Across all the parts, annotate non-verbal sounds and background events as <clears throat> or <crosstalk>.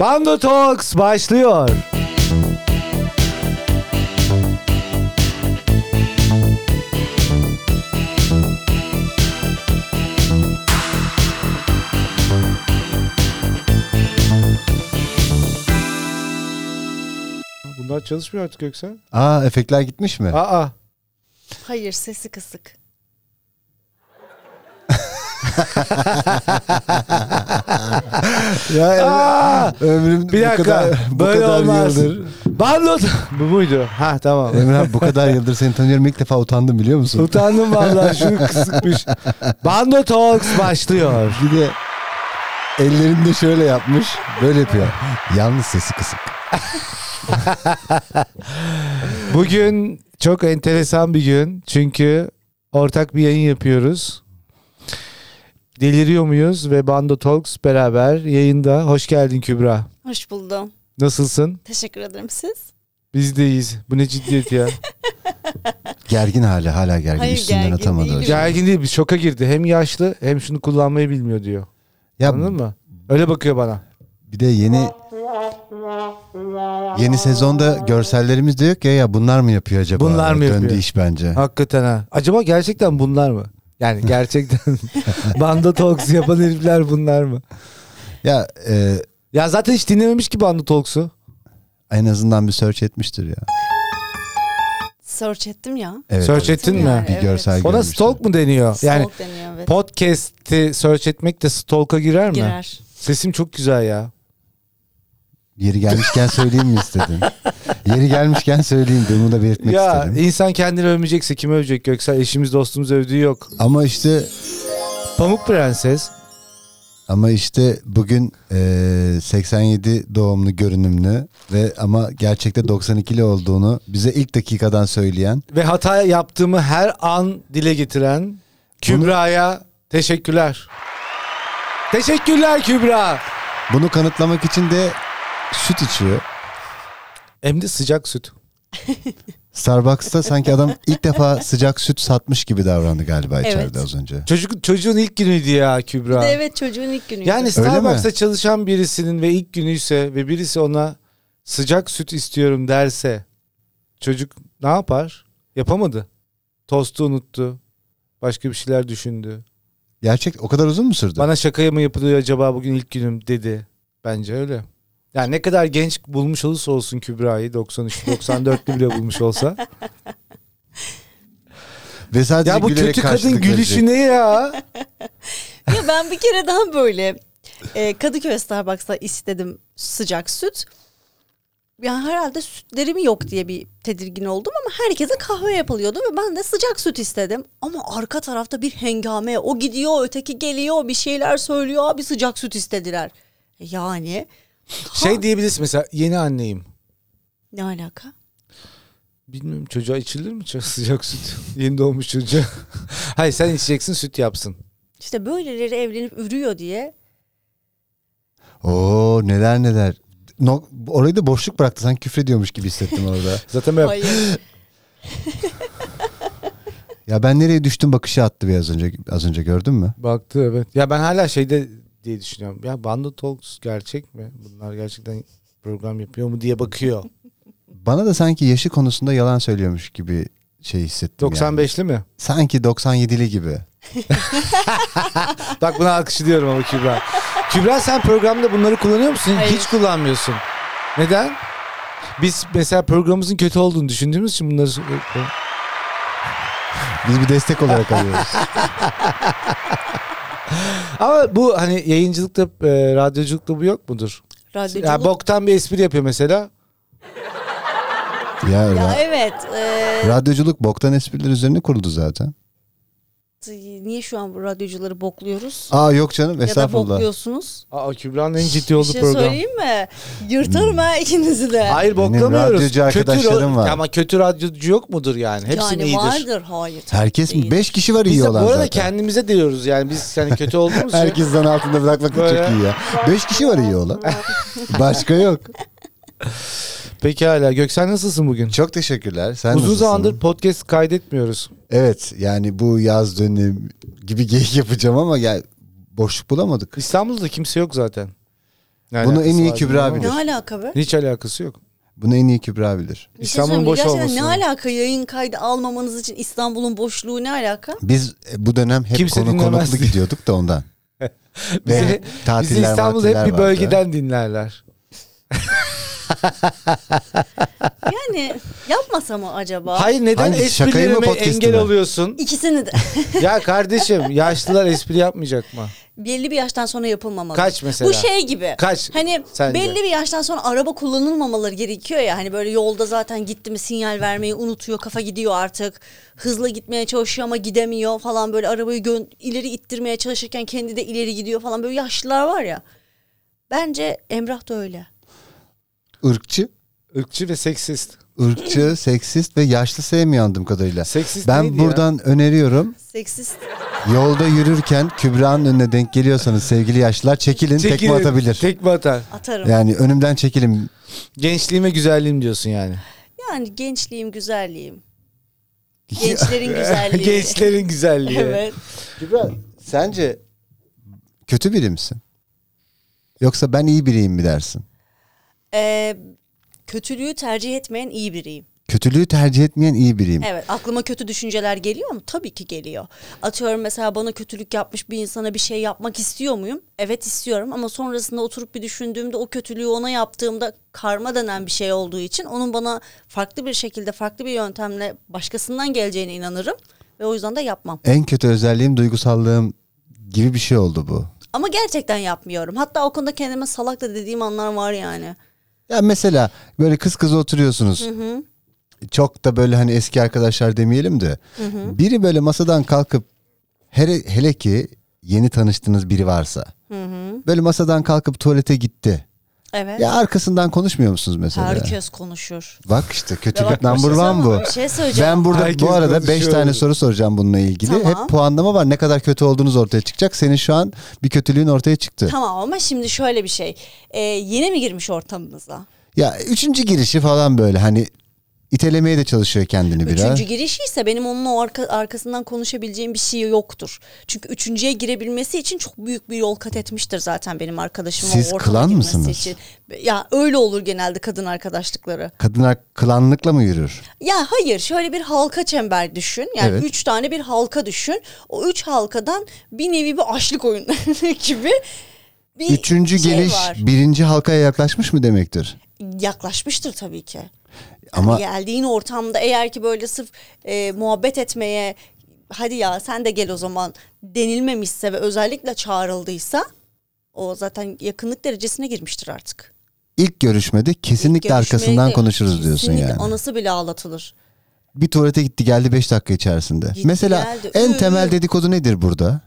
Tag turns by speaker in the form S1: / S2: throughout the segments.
S1: Bando Talks başlıyor. Bunlar çalışmıyor artık Göksel.
S2: Aa efektler gitmiş mi?
S1: Aa.
S3: Hayır sesi kısık.
S2: ya
S1: Aa!
S2: Emre- ömrüm
S1: Bir
S2: bu
S1: dakika.
S2: kadar, bu
S1: Böyle
S2: kadar
S1: olmaz.
S2: yıldır.
S1: Bando Bu muydu? Ha tamam.
S2: Emre abi, bu kadar yıldır seni tanıyorum ilk defa utandım biliyor musun?
S1: Utandım vallahi şu kısıkmış. Bando Talks başlıyor.
S2: Bir de ellerinde şöyle yapmış. Böyle yapıyor. Yalnız sesi kısık.
S1: Bugün çok enteresan bir gün. Çünkü ortak bir yayın yapıyoruz. Deliriyor muyuz ve Bando Talks beraber yayında. Hoş geldin Kübra.
S3: Hoş buldum.
S1: Nasılsın?
S3: Teşekkür ederim siz.
S1: Biz de iyiyiz. Bu ne ciddiyet ya.
S2: Gergin hali hala gergin.
S3: Hayır,
S2: Üstünden
S3: gergin
S2: atamadı.
S3: değilim.
S1: Gergin değil. Bir şoka girdi. Hem yaşlı hem şunu kullanmayı bilmiyor diyor.
S2: Ya
S1: Anladın mı? Öyle bakıyor bana.
S2: bir de yeni yeni sezonda görsellerimiz de yok ya ya bunlar mı yapıyor acaba?
S1: Bunlar mı
S2: Döndü
S1: yapıyor?
S2: iş bence.
S1: Hakikaten ha. Acaba gerçekten bunlar mı? Yani gerçekten <laughs> Bando Talks yapan herifler bunlar mı?
S2: Ya e,
S1: Ya zaten hiç dinlememiş ki Bando Talks'u.
S2: en azından bir search etmiştir ya.
S3: Search ettim ya.
S2: Evet.
S1: Search ettin
S3: Tabii
S1: mi?
S3: yani,
S2: Bir
S3: evet.
S2: görsel
S1: Ona
S2: görmüştüm.
S1: stalk mu deniyor?
S3: Yani
S1: Yani
S3: Stalk deniyor evet.
S1: podcast'i search etmek de stalk'a girer mi?
S3: Girer.
S1: Sesim çok güzel ya.
S2: Yeri gelmişken söyleyeyim mi istedin? Yeri gelmişken söyleyeyim de bunu da belirtmek
S1: ya
S2: istedim.
S1: insan kendini övmeyecekse kim övecek Göksel? Eşimiz dostumuz övdüğü yok.
S2: Ama işte
S1: Pamuk Prenses.
S2: ama işte bugün e, 87 doğumlu görünümlü ve ama gerçekte 92'li olduğunu bize ilk dakikadan söyleyen
S1: Ve hata yaptığımı her an dile getiren Kübra'ya teşekkürler. Teşekkürler Kübra.
S2: bunu kanıtlamak için de süt içiyor.
S1: Hem de sıcak süt.
S2: Starbucks'ta sanki adam ilk defa sıcak süt satmış gibi davrandı galiba içeride
S3: Evet.
S2: az önce.
S1: Çocuk, çocuğun ilk günüydü ya Kübra.
S3: Bir de evet çocuğun ilk günüydü.
S1: Yani
S2: Öyle mi?
S1: Starbucks'ta çalışan birisinin ve ilk günüyse ve birisi ona sıcak süt istiyorum derse çocuk ne yapar? Yapamadı. Tostu unuttu. Başka bir şeyler düşündü.
S2: Gerçek o kadar uzun mu sürdü?
S1: Bana şakaya mı yapılıyor acaba bugün ilk günüm dedi. Bence öyle. Yani ne kadar genç bulmuş olursa olsun Kübra'yı
S2: <laughs>
S1: 93-94'lü bile bulmuş olsa.
S2: Ve sadece
S1: ya bu
S2: gülerek
S1: kötü kadın
S2: karşılık verecek.
S1: gülüşü ne ya?
S2: <laughs>
S3: Ya ben bir <laughs> kere daha böyle e, Kadıköy Starbucks'ta istedim sıcak süt. Yani herhalde sütlerim yok diye bir tedirgin oldum ama herkese kahve yapılıyordu ve ben de sıcak süt istedim. Ama arka tarafta bir hengame o gidiyor öteki geliyor bir şeyler söylüyor abi sıcak süt istediler. E, Yani
S1: Şey diyebilirsin mesela yeni anneyim.
S3: ne alaka?
S1: Bilmiyorum çocuğa içilir mi çok <laughs> sıcak süt? Yeni doğmuş çocuğa. <laughs> Hayır sen içeceksin süt yapsın.
S3: İşte böyleleri evlenip ürüyor diye
S2: Oo neler neler. No, orayı da boşluk bıraktı. Sanki küfrediyormuş gibi
S1: <laughs>
S2: hissettim orada.
S1: Zaten ben
S3: Hayır.
S2: ya ben nereye düştüm bakışı attı biraz önce. Az önce gördün mü?
S1: baktı evet. Ya ben hala şeyde diye düşünüyorum. Ya Bando Talks gerçek mi? Bunlar gerçekten program yapıyor mu diye
S3: <laughs>
S1: bakıyor.
S2: Bana da sanki yaşı konusunda yalan söylüyormuş gibi şey hissettim. yani.
S1: 95'li mi?
S2: Sanki 97'li gibi.
S1: Bak buna alkışlıyorum ama Kübra. Kübra sen programda bunları kullanıyor musun?
S3: Hayır.
S1: Hiç kullanmıyorsun. Neden? Biz mesela programımızın kötü olduğunu düşündüğümüz için bunları...
S2: Biz bir destek
S1: <laughs>
S2: olarak alıyoruz.
S1: Ama bu hani yayıncılıkta, e, radyoculukta bu yok mudur?
S3: Radyoculuk.
S1: Ya boktan bir espri yapıyor mesela.
S2: ya,
S3: Ya
S2: ra-
S3: evet. eee,
S2: radyoculuk boktan espriler üzerine kuruldu zaten.
S3: niye şu an bu radyocuları bokluyoruz?
S2: Aa yok canım
S3: ya da
S2: estağfurullah.
S3: bokluyorsunuz.
S1: Aa Kübra'nın en ciddi
S3: Bir
S1: olduğu
S3: şey
S1: program.
S3: söyleyeyim mi? Yırtarım ha ikinizi de.
S1: Hayır
S2: Benim
S1: boklamıyoruz.
S2: radyocu arkadaşlarım
S1: ro-
S2: var.
S1: Ama kötü radyocu yok mudur yani? Hepsi mi
S3: yani
S1: iyidir.
S3: vardır. Hayır. tabii
S2: Herkes
S3: değil.
S2: mi? 5 kişi var
S1: Biz
S2: iyi
S1: de bu
S2: olan
S1: arada
S2: zaten.
S1: kendimize diyoruz yani biz hani kötü olduğumuz <laughs> için.
S2: Herkesten altında bırakmak da
S1: Böyle.
S2: çok iyi ya. 5 kişi var
S1: <laughs>
S2: iyi olan. Başka yok.
S1: Pekala Göksel nasılsın bugün?
S2: Çok teşekkürler. Sen
S1: Uzun
S2: nasılsın?
S1: zamandır podcast kaydetmiyoruz.
S2: <laughs> Evet yani bu yaz dönemi gibi geyik yapacağım ama ya boşluk bulamadık.
S1: İstanbul'da kimse yok zaten. Ne
S2: Bunu
S1: alakası
S2: en iyi
S1: var
S2: Kübra
S1: bilmiyorum
S2: bilir.
S1: ama
S3: Ne alaka be?
S1: Hiç alakası yok.
S2: Bunu en iyi Kübra bilir.
S3: Bir şey
S1: İstanbul'un
S3: söyleyeyim,
S1: boş
S3: gerçekten
S1: olması.
S3: Ne alaka yayın kaydı almamanız için İstanbul'un boşluğu ne alaka?
S2: Biz e, bu dönem hep
S1: Kimse
S2: konu
S1: dinlemez
S2: konuklu
S1: diye.
S2: gidiyorduk da ondan.
S1: Bizi, bizi İstanbul'da hep
S2: matiller
S1: bir
S2: vardı.
S1: bölgeden dinlerler.
S3: Yani yapmasa mı acaba?
S1: Hayır neden
S2: Hangisi? Şakayı mı,
S1: esprilerime
S2: podcast'ı
S1: engel
S2: mı?
S1: oluyorsun?
S3: İkisini de <laughs>
S1: ya kardeşim yaşlılar espri yapmayacak mı?
S3: belli bir yaştan sonra yapılmamalı.
S1: Kaç mesela?
S3: Bu şey gibi.
S1: Kaç
S3: Hani
S1: sence?
S3: belli bir yaştan sonra araba kullanılmamaları gerekiyor ya. Hani böyle yolda zaten gitti mi sinyal vermeyi unutuyor. Kafa gidiyor artık. Hızla gitmeye çalışıyor ama gidemiyor falan. Böyle arabayı gön- ileri ittirmeye çalışırken kendi de ileri gidiyor falan. Böyle yaşlılar var ya. Bence Emrah da öyle.
S2: Irkçı.
S1: Irkçı ve seksist.
S2: Irkçı, seksist ve yaşlı sevmiyor anladığım kadarıyla.
S1: Seksist neydi
S2: ben
S1: ya?
S2: buradan öneriyorum.
S3: Seksist.
S2: Yolda yürürken Kübra'nın önüne denk geliyorsanız sevgili yaşlılar çekilin, tekme
S1: Çekilin,
S2: atabilir.
S1: Tekme atar.
S3: Atarım.
S2: Yani önümden çekilin.
S1: Gençliğime güzelliğim diyorsun yani.
S3: Yani
S1: <laughs>
S3: gençliğim, güzelliğim. Gençlerin güzelliği.
S1: Gençlerin güzelliği.
S3: <laughs> Evet.
S2: Kübra sence kötü biri misin? Yoksa ben iyi biriyim mi dersin?
S3: Ee, kötülüğü tercih etmeyen iyi biriyim.
S2: Kötülüğü tercih etmeyen iyi biriyim.
S3: Evet aklıma kötü düşünceler geliyor mu? Tabii ki geliyor. Atıyorum mesela bana kötülük yapmış bir insana bir şey yapmak istiyor muyum? Evet istiyorum ama sonrasında oturup bir düşündüğümde o kötülüğü ona yaptığımda karma denen bir şey olduğu için onun bana farklı bir şekilde farklı bir yöntemle başkasından geleceğine inanırım ve o yüzden de yapmam.
S2: En kötü özelliğim duygusallığım gibi bir şey oldu bu.
S3: Ama gerçekten yapmıyorum. Hatta o konuda kendime salak da dediğim anlar var yani.
S2: Ya mesela böyle kız kız oturuyorsunuz. Çok da böyle hani eski arkadaşlar demeyelim de. Biri böyle masadan kalkıp hele, hele ki yeni tanıştığınız biri varsa. Böyle masadan kalkıp tuvalete gitti.
S3: Evet.
S2: Ya arkasından konuşmuyor musunuz mesela?
S3: Herkes konuşur.
S2: Bak işte kötülük
S3: Bir şey
S2: number one bu.
S3: söyleyeyim, Bir şey söyleyeceğim.
S2: Ben burada
S1: Herkes
S2: bu arada 5
S1: konuşuyor.
S2: tane soru soracağım bununla ilgili.
S3: Tamam.
S2: Hep puanlama var. Ne kadar kötü olduğunuz ortaya çıkacak. Senin şu an bir kötülüğün ortaya çıktı.
S3: Tamam ama şimdi şöyle bir şey. Ee, yeni mi girmiş ortamınıza?
S2: Ya üçüncü girişi falan böyle hani itelemeye de çalışıyor kendini biraz.
S3: Üçüncü girişi ise benim onun o arka- arkasından konuşabileceğim bir şey yoktur. Çünkü üçüncüye girebilmesi için çok büyük bir yol kat etmiştir zaten benim arkadaşım
S2: Siz
S3: o ortama
S2: klan
S3: girmesi
S2: mısınız?
S3: için. Ya öyle olur genelde kadın arkadaşlıkları.
S2: Kadınlar klanlıkla mı yürür?
S3: Ya hayır şöyle bir halka çember düşün. Yani
S2: Evet.
S3: üç tane bir halka düşün. O üç halkadan bir nevi bir açlık oyunu <laughs> gibi bir
S2: Üçüncü
S3: şey
S2: geliş
S3: var.
S2: birinci halkaya yaklaşmış mı demektir?
S3: Yaklaşmıştır tabii ki.
S2: Ama
S3: geldiğin ortamda eğer ki böyle sırf e, muhabbet etmeye hadi ya sen de gel o zaman denilmemişse ve özellikle çağrıldıysa o zaten yakınlık derecesine girmiştir artık.
S2: ilk görüşmede kesinlikle
S3: Görüşmeye
S2: arkasından
S3: de
S2: konuşuruz diyorsun
S3: kesinlikle
S2: yani.
S3: Anası bile ağlatılır.
S2: Bir tuvalete gitti geldi 5 dakika içerisinde.
S3: Gitti
S2: Mesela
S3: geldi,
S2: en
S3: ü-
S2: temel
S3: ü-
S2: dedikodu nedir burada?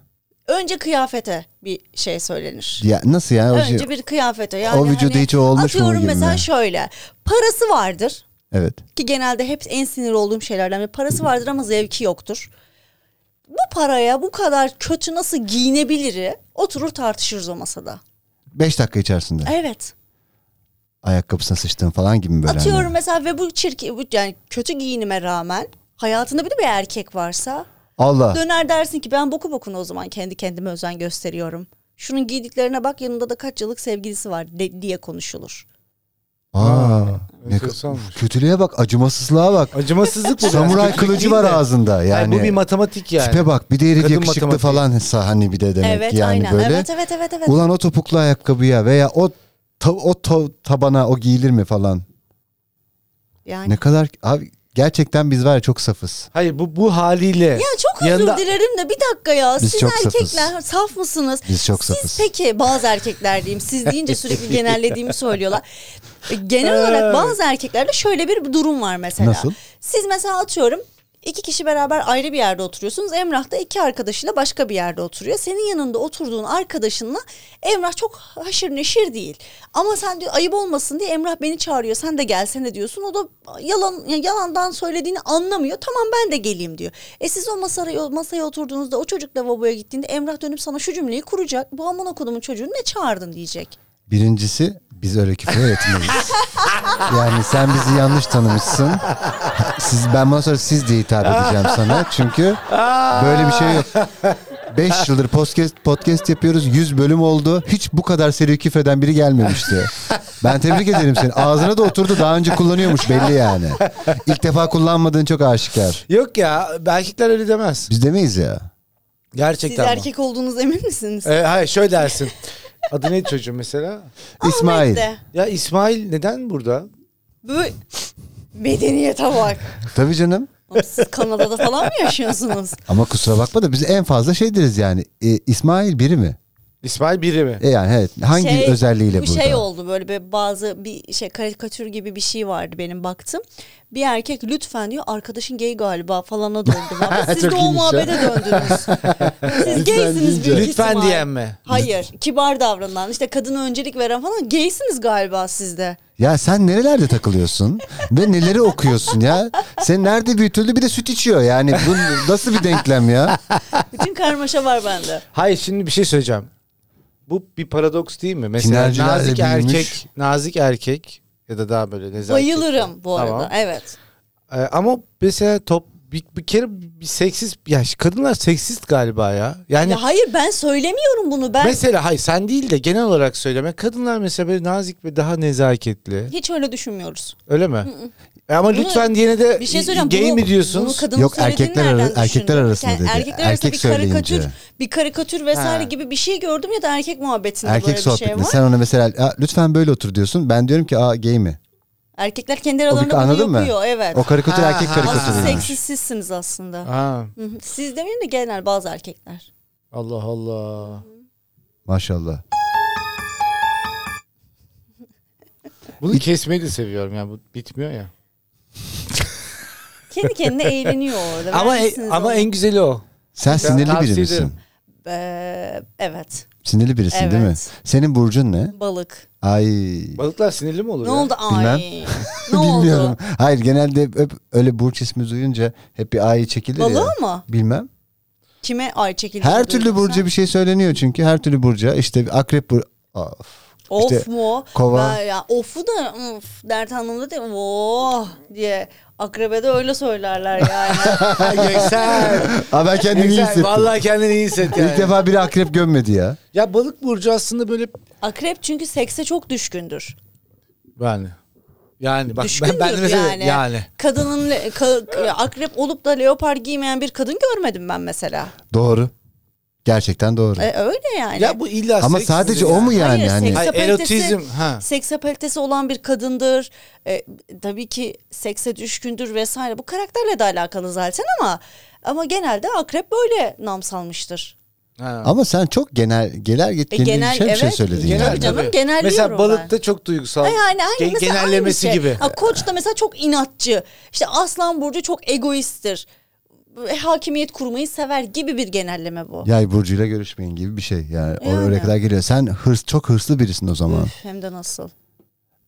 S3: Önce kıyafete bir şey söylenir.
S2: Ya nasıl yani? O şey-
S3: Önce bir kıyafete yani
S2: o vücuda
S3: hani
S2: hiç o olmuş mu
S3: atıyorum
S2: gibi
S3: mesela
S2: mi?
S3: şöyle parası vardır
S2: Evet.
S3: ki genelde hep en sinir olduğum şeylerden biri parası vardır ama zevki yoktur. Bu paraya bu kadar kötü nasıl giyinebilir oturur tartışırız o masada.
S2: 5 dakika içerisinde.
S3: Evet.
S2: Ayakkabısına sıçtığın falan gibi mi böyle. hani?
S3: Atıyorum mesela ve bu çirkin bu- yani kötü giyinime rağmen hayatında bir de bir erkek varsa
S2: Allah.
S3: döner dersin ki ben boku bokuna o zaman kendi kendime özen gösteriyorum. Şunun giydiklerine bak yanında da kaç yıllık sevgilisi var de- diye konuşulur.
S2: Aa. Ne,
S1: enteresanmış.
S2: kötülüğe bak, acımasızlığa bak.
S1: Acımasızlık bu.
S2: Samuray
S1: Kötülük
S2: kılıcı
S1: değil
S2: var
S1: de.
S2: ağzında yani.
S1: Hayır, bu bir matematik yani.
S2: Tipe bak bir de herif
S1: Kadın
S2: yakışıklı
S1: matematiği.
S2: falan hani bir de demek
S3: evet
S2: yani
S3: aynen.
S2: böyle.
S3: Evet evet evet evet.
S2: Ulan o topuklu ayakkabıya veya o ta- o to- tabana o giyilir mi falan.
S3: yani.
S2: Ne kadar abi gerçekten biz var ya çok safız.
S1: Hayır bu bu haliyle.
S3: Ya çok özür
S1: Yanında-
S3: dilerim de bir dakika ya.
S2: Biz
S3: siz
S2: çok
S3: erkekler
S2: safız.
S3: saf mısınız?
S2: Biz çok
S3: siz
S2: safız.
S3: peki bazı erkekler
S2: <laughs>
S3: diyeyim. Siz deyince sürekli genellediğimi söylüyorlar. E, Genel olarak bazı erkeklerde şöyle bir durum var mesela.
S2: Nasıl?
S3: Siz mesela atıyorum iki kişi beraber ayrı bir yerde oturuyorsunuz. Emrah da iki arkadaşıyla başka bir yerde oturuyor. Senin yanında oturduğun arkadaşınla Emrah çok haşır neşir değil. Ama sen diyor ayıp olmasın diye Emrah beni çağırıyor. Sen de gelsene diyorsun. O da yalan ya yalandan söylediğini anlamıyor. Tamam ben de geleyim diyor. E siz o masaya masaya oturduğunuzda o çocuk lavaboya gittiğinde Emrah dönüp sana şu cümleyi kuracak. Bu amına kodumun çocuğunu ne çağırdın diyecek.
S2: Birincisi biz öyle küfür etmeyiz. yani sen bizi yanlış tanımışsın. Siz ben bana sonra siz diye hitap edeceğim sana. Çünkü böyle bir şey yok. 5 yıldır podcast, podcast yapıyoruz. 100 bölüm oldu. Hiç bu kadar seri küfreden biri gelmemişti. Ben tebrik ederim seni. Ağzına da oturdu. Daha önce kullanıyormuş belli yani. İlk defa kullanmadığın çok aşikar.
S1: Yok ya erkekler öyle demez.
S2: Biz demeyiz ya.
S3: Siz
S1: Gerçekten
S3: erkek olduğunuz emin misiniz?
S1: bu. Ee, hayır şöyle dersin. <laughs> Adı ne çocuğun mesela?
S2: İsmail.
S3: De.
S1: Ya İsmail neden burada?
S3: Bu medeniyete bak.
S2: Tabii canım.
S3: Oğlum Siz Kanada'da falan mı yaşıyorsunuz?
S2: Ama kusura bakma da biz en fazla şey deriz yani. E, İsmail biri mi?
S1: İsmail biri mi?
S2: E yani evet. <laughs> Hangi
S3: Şey,
S2: özelliğiyle
S3: bu
S2: burada?
S3: şey oldu böyle bir bazı bir şey karikatür gibi bir şey vardı benim baktım. Bir erkek lütfen diyor arkadaşın gay galiba falana döndü.
S2: <laughs>
S3: Abi Siz
S2: Çok
S3: de o
S2: iyiymiş ya.
S3: muhabbete
S2: <laughs>
S3: döndünüz. Siz gaysiniz büyük
S1: Lütfen
S3: ihtimal.
S1: diyen mi?
S3: Hayır kibar davranan işte kadına öncelik veren falan gaysiniz galiba sizde.
S2: Ya sen nerelerde
S3: <laughs>
S2: takılıyorsun ve neleri okuyorsun ya? Sen nerede büyütüldü bir de süt içiyor yani. Bu nasıl bir denklem ya?
S3: Bütün karmaşa var bende.
S1: Hayır şimdi bir şey söyleyeceğim. Bu bir paradoks değil mi? Mesela
S2: Tinercilerle
S1: nazik
S2: büyümüş.
S1: erkek, nazik erkek ya da daha böyle
S2: şey.
S1: nezaket.
S3: Bayılırım bu arada
S1: Tamam.
S3: evet.
S1: Ee, ama mesela top bir, bir kere bir seksist ya şu kadınlar seksist galiba ya.
S2: Hani
S1: Yani
S3: Ya hayır ben söylemiyorum bunu ben
S1: mesela hayır sen değil de genel olarak söyleme. Kadınlar mesela böyle nazik ve daha nezaketli.
S3: hiç öyle düşünmüyoruz.
S1: Öyle mi? E ama lütfen diyene de
S3: Bir şey söyleyeceğim.
S1: gay
S3: bunu-
S1: mi
S3: bunu
S1: diyorsunuz?
S3: kadının
S2: Yok,
S3: söylediğini
S2: erkekler
S3: nereden
S2: ara-
S3: düşündün?
S2: erkekler arasında dedi.
S3: Erkekler arasında
S2: Erkek
S3: bir karikatür,
S2: söyleyince.
S3: bir karikatür vesaire
S1: Ha.
S3: gibi bir şey gördüm ya da erkek muhabbetinde
S2: Erkek
S3: böyle bir şey
S2: sohbetinde
S3: var.
S2: sen ona mesela "Aa, lütfen böyle otur diyorsun. Ben diyorum ki aa gay mi?
S3: Erkekler kendi
S2: O bir-
S3: aralarında bunu
S2: anladın mı?
S3: yapıyor evet.
S2: O karikatür
S1: Ha,
S2: erkek
S1: ha.
S3: Aslında
S2: karikatürüymüş.
S3: seksiz sizsiniz aslında.
S1: Ha.
S3: Hı hı. Siz demeyin de genel bazı erkekler.
S1: Allah Allah.
S2: Maşallah.
S1: Bunu kesmeyi de seviyorum ya. Bu bitmiyor ya.
S2: <laughs>
S3: Kendi kendine eğleniyor orada.
S1: Ama
S2: e-
S1: e,
S3: Vermişsiniz
S1: ama
S3: onu.
S1: en güzeli o.
S2: Sen sinirli
S1: tavsiye
S2: biri misin?
S1: ederim.
S3: Ee, evet
S2: Sinirli birisin değil mi?
S3: Evet.
S2: Senin burcun ne?
S3: balık.
S2: Ay.
S1: Balıklar sinirli mi olur
S3: Ne
S1: ya? <laughs>
S3: oldu ay?
S2: <laughs>
S3: Ne
S2: Bilmiyorum.
S3: oldu?
S2: Hayır genelde hep öyle burç ismi duyunca hep bir ay çekilir ya.
S3: Balığa mı?
S2: Bilmem.
S3: Kime ay çekildi?
S2: Her türlü burca bir şey söyleniyor çünkü. Her türlü burca işte akrep bur Of.
S3: Of
S2: İşte
S3: mu? o?
S2: kova.
S3: Ben ya ofu da of, dert anlamında değil. Oh diye akrebe de öyle söylerler yani.
S2: <laughs>
S1: Ha, <laughs> Göksel.
S2: Aa, ben kendimi iyi
S1: Göksel
S2: hissettim.
S1: vallahi kendini iyi hisset yani.
S2: İlk defa biri akrep gömmedi ya.
S1: Ya balık burcu aslında böyle
S3: akrep çünkü sekse çok düşkündür.
S1: yani. Yani bak ben,
S3: Düşkündür
S1: ben de mesela
S3: yani.
S1: yani. yani.
S3: Kadının le- ka- akrep olup da leopar giymeyen bir kadın görmedim ben mesela.
S2: Doğru. Gerçekten doğru.
S3: E, öyle yani.
S1: Ya bu illa
S2: Ama
S1: seks
S2: sadece
S1: midir
S2: o mu
S1: ya?
S2: yani?
S3: Hayır,
S2: hani?
S3: seks-
S1: Hayır,
S3: Sapalitesi-
S1: erotizm ha.
S3: Seks apalitesi olan bir kadındır. E, tabii ki sekse düşkündür vesaire. Bu karakterle de alakalı zaten ama ama genelde akrep böyle nam salmıştır.
S1: ha.
S2: Ama sen çok genel geler git
S3: E,
S2: genel,
S3: genel,
S2: bir şey
S3: evet.
S2: söyledin
S3: Genel
S2: yani.
S3: tabii canım, genelliyorum ben.
S1: Mesela balıkta çok duygusal.
S3: Ay, Yani aynı,
S1: ge-
S3: mesela
S1: genellemesi
S3: aynı şey.
S1: gibi.
S3: Ha, koç da mesela çok inatçı. İşte Aslan Burcu çok egoisttir. E, Hakimiyet kurmayı sever gibi bir genelleme bu.
S2: Yay burcuyla görüşmeyin gibi bir şey. Yani,
S3: Yani.
S2: oraya kadar geliyor. Sen hırs çok hırslı birisin o zaman.
S3: Üf, hem de nasıl.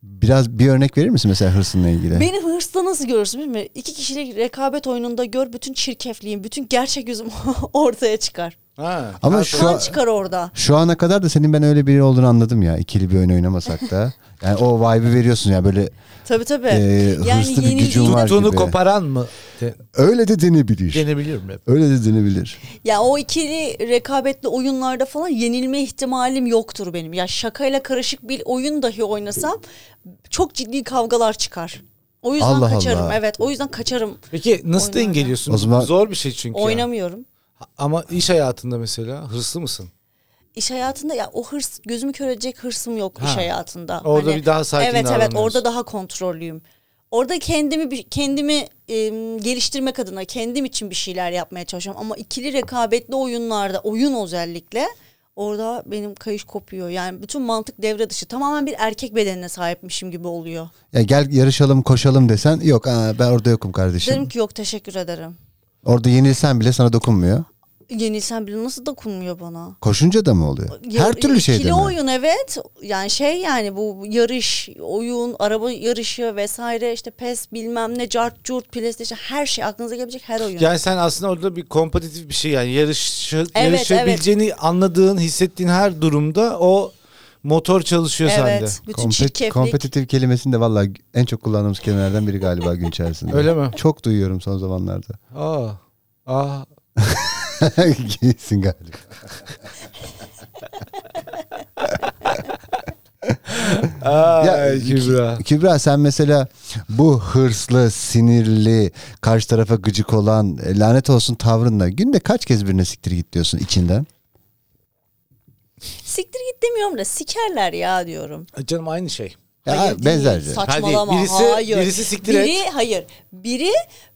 S2: Biraz bir örnek verir misin mesela hırsınla ilgili?
S3: Beni hırsla nasıl görürsün bilmiyorum. İki kişilik rekabet oyununda gör bütün çirkefliğim, bütün gerçek yüzüm <laughs> ortaya çıkar.
S1: Ha.
S2: Ama
S1: Ha,
S2: şu-
S3: Kan çıkar orada.
S2: Şu ana kadar da senin ben öyle biri olduğunu anladım ya. İkili bir oyun oynamasak da. Yani o vibe'ı veriyorsun ya böyle
S3: Tabii tabii.
S2: Ee, hırslı bir
S3: yenildiğinde-
S2: gücün var.
S1: tuttuğunu
S2: gibi.
S1: koparan mı? De,
S2: öyle de denebilir.
S1: denebilirim hep.
S2: Öyle de denebilir.
S3: Ya o ikili rekabetli oyunlarda falan yenilme ihtimalim yoktur benim. Ya şakayla karışık bir oyun dahi oynasam çok ciddi kavgalar çıkar. O yüzden
S2: Allah
S3: kaçarım.
S2: Allah.
S3: Evet, o yüzden kaçarım.
S1: Peki nasıl
S3: Oynar ya.
S1: dengeliyorsun?
S2: O zaman-
S1: Zor bir şey çünkü. ya.
S3: Oynamıyorum.
S1: Ama iş hayatında mesela hırslı mısın?
S3: İş hayatında ya o hırs gözümü kör edecek hırsım yok iş
S1: Ha.
S3: hayatında. Hani
S1: Orada bir daha sakin
S3: Evet evet
S1: davranıyorsun.
S3: orada daha kontrollüyüm. Orada kendimi bir- kendimi e, geliştirmek adına kendim için bir şeyler yapmaya çalışıyorum ama ikili rekabetli oyunlarda oyun özellikle orada benim kayış kopuyor. Yani bütün mantık devre dışı. Tamamen bir erkek bedenine sahipmişim gibi oluyor.
S2: Ya gel yarışalım koşalım desen yok aa, ben orada yokum kardeşim.
S3: Derim ki yok teşekkür ederim.
S2: Orada yenilsen bile sana dokunmuyor.
S3: Yenilsen bile nasıl dokunmuyor bana?
S2: Koşunca da mı oluyor?
S3: Ya-
S2: Her türlü şey şeyde
S3: ikili
S2: mi?
S3: oyun evet. Yani şey yani bu yarış, oyun, araba yarışı vesaire işte PES bilmem ne, cart, curt, PlayStation her şey aklınıza gelebilecek her oyun.
S1: Yani sen aslında orada bir kompetitif bir şey yani yarış,
S3: evet.
S1: yarışabileceğini anladığın, hissettiğin her durumda o motor çalışıyor
S3: evet.
S1: sende.
S3: Bütün
S2: Kompet-
S3: çirkeflik.
S2: kompetitif kelimesini de valla en çok kullandığımız kelimelerden biri galiba gün içerisinde.
S1: Öyle mi? Ah,
S2: Çok duyuyorum son zamanlarda.
S1: Aa. Aa.
S2: <laughs> Giysin galiba.
S1: Ay
S2: Ya,
S1: Kübra.
S2: Kübra sen mesela bu hırslı, sinirli, karşı tarafa gıcık olan e, lanet olsun tavrınla günde kaç kez birine siktir git diyorsun içinden?
S3: Siktir git demiyorum da sikerler ya diyorum.
S1: Canım aynı şey.
S2: Ya,
S3: hayır
S2: benzer. şey.
S3: değil, Saçmalama.
S1: Hadi, birisi-
S3: hayır.
S1: birisi siktir
S3: Biri,
S1: et.
S3: Hayır. Biri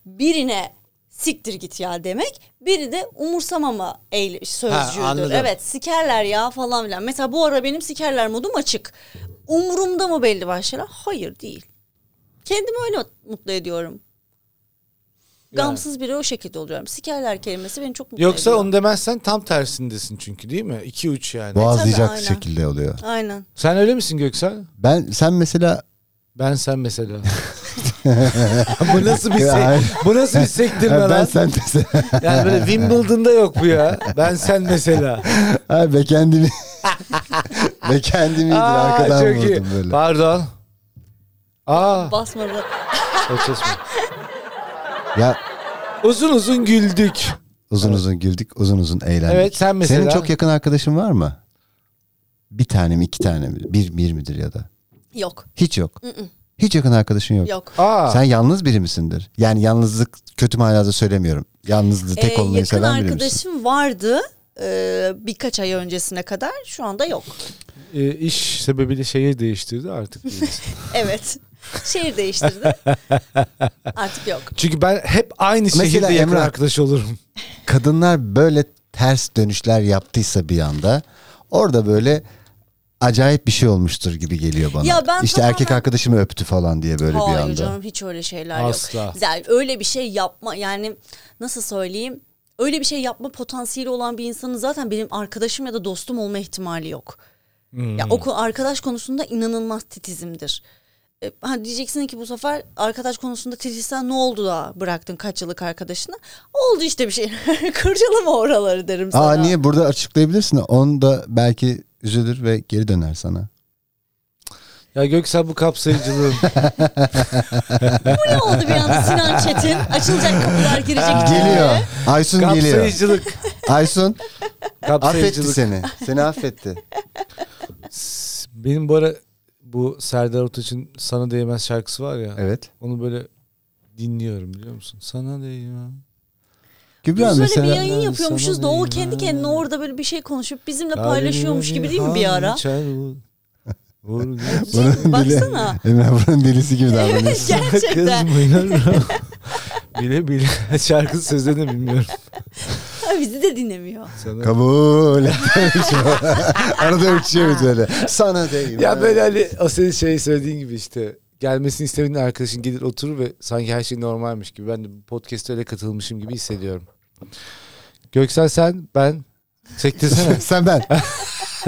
S3: birine siktir git ya demek. Biri de umursamama eyle,
S1: anladım.
S3: sözcüğüdür. Evet sikerler ya falan filan. Mesela bu ara benim sikerler modum açık. Umurumda mı belli başlı şeyler? Hayır değil. Kendimi öyle mutlu ediyorum. Gamsız biri o şekilde oluyorum. Sikerler kelimesi beni çok mutlu
S1: Yoksa
S3: ediyor.
S1: onu demezsen tam tersindesin çünkü değil mi? 2-3 yani.
S2: Boğazlayacak
S3: Tabii, aynen.
S2: şekilde oluyor.
S3: Aynen.
S1: Sen öyle misin Göksel?
S2: Ben sen mesela
S1: Ben sen
S2: <laughs>
S1: mesela. bu nasıl bir
S2: Ya.
S1: sek- bu nasıl bir sektirme
S2: ben
S1: lan?
S2: sen <laughs> mesela
S1: Yani böyle Wimbledon'da yok bu ya. Ben sen
S2: <laughs>
S1: mesela.
S2: Abi be kendimi <laughs> be kendimi iyidir,
S1: Aa,
S2: arkadan
S1: çok iyi.
S2: vurdum böyle.
S1: Pardon. Aa,
S3: Basma bırak.
S1: saçma.
S2: Ya
S1: uzun uzun güldük.
S2: uzun uzun güldük, uzun uzun eğlendik.
S1: Evet, sen mesela-
S2: Senin çok yakın arkadaşın var mı? Bir tane mi, iki tane mi? Bir, bir midir ya da?
S3: Yok.
S2: Hiç yok. Hiç yakın arkadaşın yok.
S3: Yok.
S1: Aa,
S2: Sen yalnız biri misindir? Yani yalnızlık kötü manada söylemiyorum. Yalnızlığı
S3: Ee,
S2: tek olmayı
S3: yakın
S2: seven biri misin?
S3: arkadaşım vardı ee, birkaç ay öncesine kadar. Şu anda yok.
S1: e, iş sebebiyle şehir değiştirdi
S2: <laughs>
S1: artık. değiliz.
S3: Evet. Şehir değiştirdi. Artık yok.
S1: Çünkü ben hep aynı
S2: Mesela
S1: şehirde yakın
S2: Emrah.
S1: arkadaş olurum.
S2: Kadınlar böyle ters dönüşler yaptıysa bir anda orada böyle acayip bir şey olmuştur gibi geliyor bana.
S3: Ya ben
S2: işte
S3: tamamen-
S2: erkek arkadaşımı öptü falan diye böyle bir
S3: Hayır
S2: anda.
S3: canım hiç öyle şeyler
S1: Asla.
S3: yok. Yani öyle bir şey yapma yani nasıl söyleyeyim? Öyle bir şey yapma potansiyeli olan bir insanın zaten benim arkadaşım ya da dostum olma ihtimali yok.
S1: Hmm.
S3: Ya
S2: Hmm.
S3: o ko- arkadaş konusunda inanılmaz titizimdir. E, ha diyeceksin ki bu sefer arkadaş konusunda titizsen ne oldu da bıraktın kaç yıllık arkadaşını? Oldu işte bir şey. <laughs> Kurcalama oraları derim sana.
S2: Aa niye burada açıklayabilirsin? Onu da belki üzülür ve geri döner sana.
S1: Ya Göksel bu kapsayıcılığın.
S3: Bu ne oldu bir anda Sinan Çetin? Açılacak kapılar girecek.
S2: Geliyor. Aysun <laughs> geliyor.
S1: kapsayıcılık.
S2: Aysun <laughs> affetti
S1: kapsayıcılık.
S2: seni. Seni affetti.
S1: S- Benim bu ara bu Serdar Ortaç'ın Sana Değmez şarkısı var ya.
S2: Evet.
S1: Onu böyle dinliyorum biliyor musun? Sana değmez.
S2: Kübra
S3: Biz öyle bir
S2: mesela
S1: ben
S3: yayın yapıyormuşuz da o
S1: sanırım
S3: kendi
S1: ben-
S3: kendine orada böyle bir şey konuşup bizimle paylaşıyormuş gibi değil mi bir ara?
S2: <laughs> Bunun
S3: Baksana.
S2: Emre buranın delisi gibi davranıyorsun.
S3: <laughs> Evet gerçekten.
S1: Kızmıyorum. <laughs> bile bile şarkı sözlerini de bilmiyorum.
S3: Ha, Bizi de dinlemiyor.
S1: Sana.
S2: Kabul. <laughs> Arada ölçüyoruz öyle. Sana değil.
S1: ya böyle hani o senin şey söylediğin gibi işte gelmesini istemediğin arkadaşın gelir oturur ve sanki her şey normalmiş gibi. Ben de bu podcast'e öyle katılmışım gibi hissediyorum. Göksel sen, ben. <laughs> Sektirsene.
S2: Sen ben.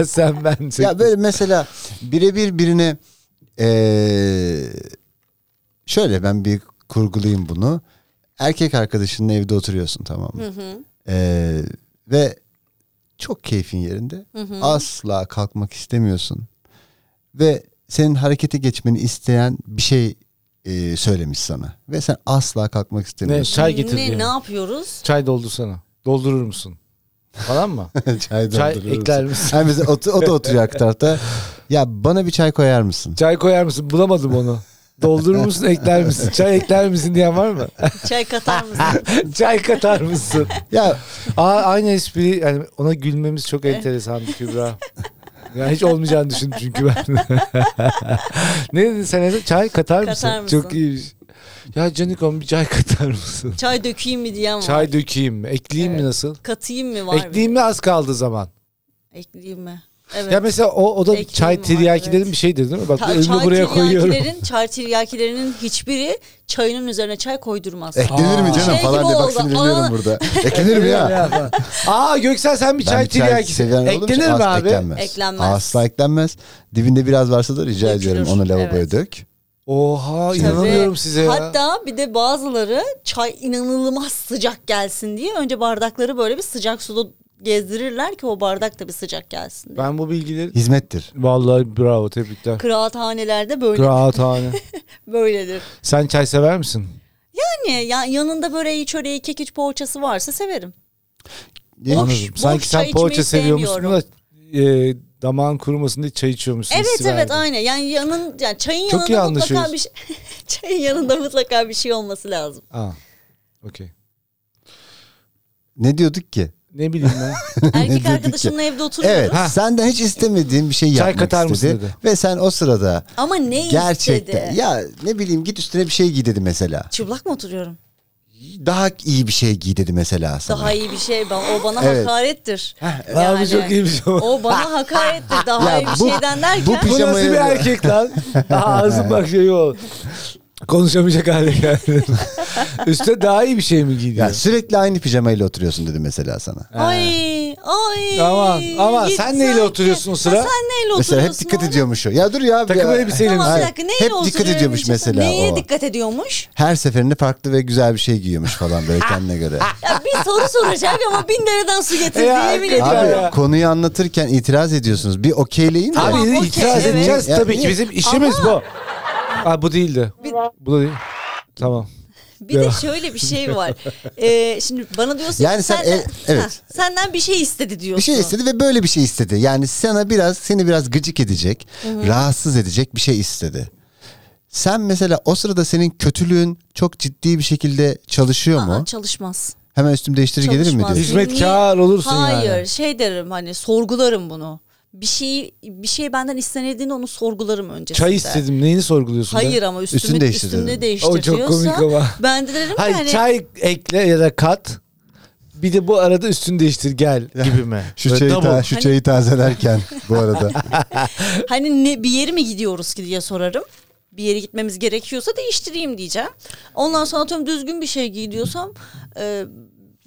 S1: sen, ben. Sektir.
S2: ya böyle mesela birebir birine eee, şöyle ben bir kurgulayayım bunu. Erkek arkadaşının evde oturuyorsun tamam mı? Eee, ve çok keyfin yerinde. Asla kalkmak istemiyorsun. Ve senin harekete geçmeni isteyen bir şey eee, söylemiş sana. Ve sen asla kalkmak
S1: Ne,
S2: istemiyorsun.
S1: çay getir
S3: ne,
S1: diyor.
S3: ne yapıyoruz?
S1: Çay doldursana. Doldurur musun? Falan mı?
S2: <laughs> çay
S1: çay
S2: dolduruyorum.
S1: ekler misin?
S2: Yani mesela o, o da oturuyor arka
S1: <laughs>
S2: tarafta. Ya bana bir çay koyar mısın?
S1: <laughs> Çay koyar mısın? Bulamadım onu. Doldurur musun ekler misin? Çay ekler misin diyen var <laughs> mı?
S3: Çay
S1: <laughs>
S3: katar mısın?
S1: Çay katar mısın?
S2: Ya
S1: Aa, aynı espri yani ona gülmemiz çok
S3: Eh.
S1: enteresan Kübra. <laughs> Yani hiç olmayacağını düşündüm çünkü ben. <laughs> ne dedin sen? Ezra? Çay katar mısın?
S3: Katar mısın?
S1: Çok iyiymiş. Ya Canikom bir çay katar mısın?
S3: Çay dökeyim mi diyen var.
S1: Çay dökeyim mi? Ekleyeyim mi nasıl?
S3: Katayım mı var? bir de?
S1: Ekleyeyim mi az kaldı zaman?
S3: Ekleyeyim mi? Evet.
S1: Ya mesela o, o da
S3: Ekleyeyim mi
S1: çay
S3: var?
S1: tiryakilerin
S3: Evet.
S1: bir şeydir değil mi? Bak
S3: Ta-
S1: önünü
S3: çay
S1: buraya koyuyorum.
S3: tiryakilerin- Çay tiryakilerinin hiçbiri çayının üzerine çay koydurmaz.
S1: Eh,
S2: eklenir mi canım
S3: Şey
S2: falan
S3: gibi
S2: diye bak
S3: oldu.
S2: sinirleniyorum
S3: Aa. <laughs>
S2: burada. Eklenir mi ya?
S1: Aa Göksel sen bir
S2: Ben
S1: çay
S2: bir çay
S1: tiryakisi.
S2: seven olur musun?
S1: Eklenir mi
S2: Asla
S1: abi?
S2: Eklenmez.
S3: Eklenmez.
S2: Asla eklenmez. Dibinde biraz varsa da rica
S3: Dökülür,
S2: ediyorum onu lavaboya
S3: evet.
S2: dök.
S1: Oha
S3: Tabii.
S1: inanamıyorum size ya.
S3: Hatta bir de bazıları çay inanılmaz sıcak gelsin diye önce bardakları böyle bir sıcak suda gezdirirler ki o bardak da bir sıcak gelsin diye.
S1: Ben bu bilgileri...
S2: Hizmettir.
S1: Vallahi bravo tebrikler.
S3: Kıraathanelerde böyle
S1: Kıraathane.
S3: böyledir. Hani,
S1: Sen çay sever misin?
S3: Yani ya, yanında böreği, çöreği, kekiç, poğaçası varsa severim.
S2: Ye-
S3: Boş-
S1: Anladım. Sanki
S3: boş çay
S1: sen poğaça
S3: içmeyi
S1: seviyormuşsun da
S3: sevmiyorum.
S1: e, damağın kurumasın diye çay içiyormuşsun.
S3: Evet
S1: hissi
S3: evet
S1: verdi.
S3: aynı. Yani yanın yani çayın
S1: Çok
S3: yanında
S1: yanlış
S3: mutlaka
S1: o.
S3: bir şey <laughs> çayın yanında mutlaka bir şey olması lazım.
S1: Aa, okey.
S2: Ne diyorduk ki?
S1: Ne bileyim
S3: <laughs>
S1: ben.
S2: Dedik <laughs>
S3: Erkek
S2: ya.
S3: arkadaşınla evde oturuyoruz.
S2: Evet.
S1: Ha.
S2: Senden hiç istemediğin bir şey
S1: Çay
S2: yapmak
S1: katar mısın
S2: istedi.
S1: dedi.
S2: Ve sen o sırada
S3: Ama ne
S2: gerçekten
S3: istedi?
S2: ya ne bileyim git üstüne bir şey giy dedi mesela.
S3: Çıplak mı oturuyorum?
S2: Daha iyi bir şey giy dedi mesela sana.
S3: Daha iyi bir şey. Ben, o bana
S2: Evet.
S3: hakarettir.
S1: Abi çok iyi bir şey. Bu
S3: O bana hakarettir. Daha
S2: Ya
S3: iyi bir
S2: bu-
S3: şeyden derken.
S2: bu pis-
S1: nasıl
S2: Pijamayı
S1: bir
S2: da-
S1: erkek <laughs> lan? Aa, Ağzım bak şey ol. Konuşamayacak hale <laughs> geldim. Üste daha iyi bir şey mi
S2: Ya
S1: giydin?
S2: sürekli aynı pijamayla oturuyorsun dedi mesela sana.
S3: Ay ay.
S1: Aman, aman.
S3: Git
S1: Sen neyle oturuyorsun o sıra?
S3: Ha, sen neyle oturuyorsun?
S2: Mesela hep dikkat
S3: oğlum?
S2: ediyormuş o. Ya dur ya.
S1: Takım
S2: ya.
S1: elbiseyle
S3: Tamam bir
S2: Hayır,
S3: dakika neyle
S2: Hep dikkat
S3: oturuyorum
S2: ediyormuş
S3: işte?
S2: mesela
S3: Neye
S2: o.
S3: dikkat ediyormuş?
S2: Her seferinde farklı ve güzel bir şey giyiyormuş falan böyle kendine
S3: <laughs>
S2: göre.
S3: Ya bir soru soracak ama bin nereden su getirdi
S1: Ya,
S3: yemin
S1: hakikaten.
S3: ediyorum.
S2: Abi
S1: Ya.
S2: konuyu anlatırken itiraz ediyorsunuz. Bir okeyleyin de.
S1: Abi
S3: Tamam, okey,
S1: itiraz
S3: evet.
S1: edeceğiz
S2: Ya,
S1: tabii
S2: iyi.
S1: ki bizim işimiz bu. Aa, bu değildi. Bu da değil. Tamam.
S3: Bir de şöyle bir şey var. Ee, şimdi bana diyorsun
S2: Yani
S3: ki
S2: sen
S3: senden,
S2: ev- evet.
S3: Ha, senden bir şey istedi diyorsun.
S2: Bir şey istedi ve böyle bir şey istedi. Yani sana biraz seni biraz gıcık edecek, rahatsız edecek bir şey istedi. Sen mesela o sırada senin kötülüğün çok ciddi bir şekilde çalışıyor mu?
S3: Aa, çalışmaz.
S2: Hemen üstümü değiştirir gelirim mi
S3: Çalışmaz.
S2: diyorsun?
S1: Hizmetkar olursun yani.
S3: Hayır şey derim hani sorgularım bunu. Bir şey bir şey benden istenildiğinde onu sorgularım öncesinde.
S1: Çay istedim. Neyini sorguluyorsun? be?
S3: Hayır ama üstümü,
S2: Üstünü
S3: üstünü
S2: değiştir
S3: değiştir,
S2: dedim.
S1: O çok komik
S3: diyorsa
S1: ama.
S3: Ben de derim ki
S1: Hayır
S3: hani
S1: çay ekle ya da kat. Bir de bu arada üstünü değiştir gel
S2: <laughs>
S1: gibi mi?
S2: Şu
S1: Böyle
S2: çayı,
S1: double.
S2: ta- şu
S3: Hani-
S2: çayı tazelerken bu <laughs> arada.
S3: Hani ne, bir yere mi gidiyoruz ki diye sorarım. Bir yere gitmemiz gerekiyorsa değiştireyim diyeceğim. Ondan sonra atıyorum düzgün bir şey giy diyorsam e,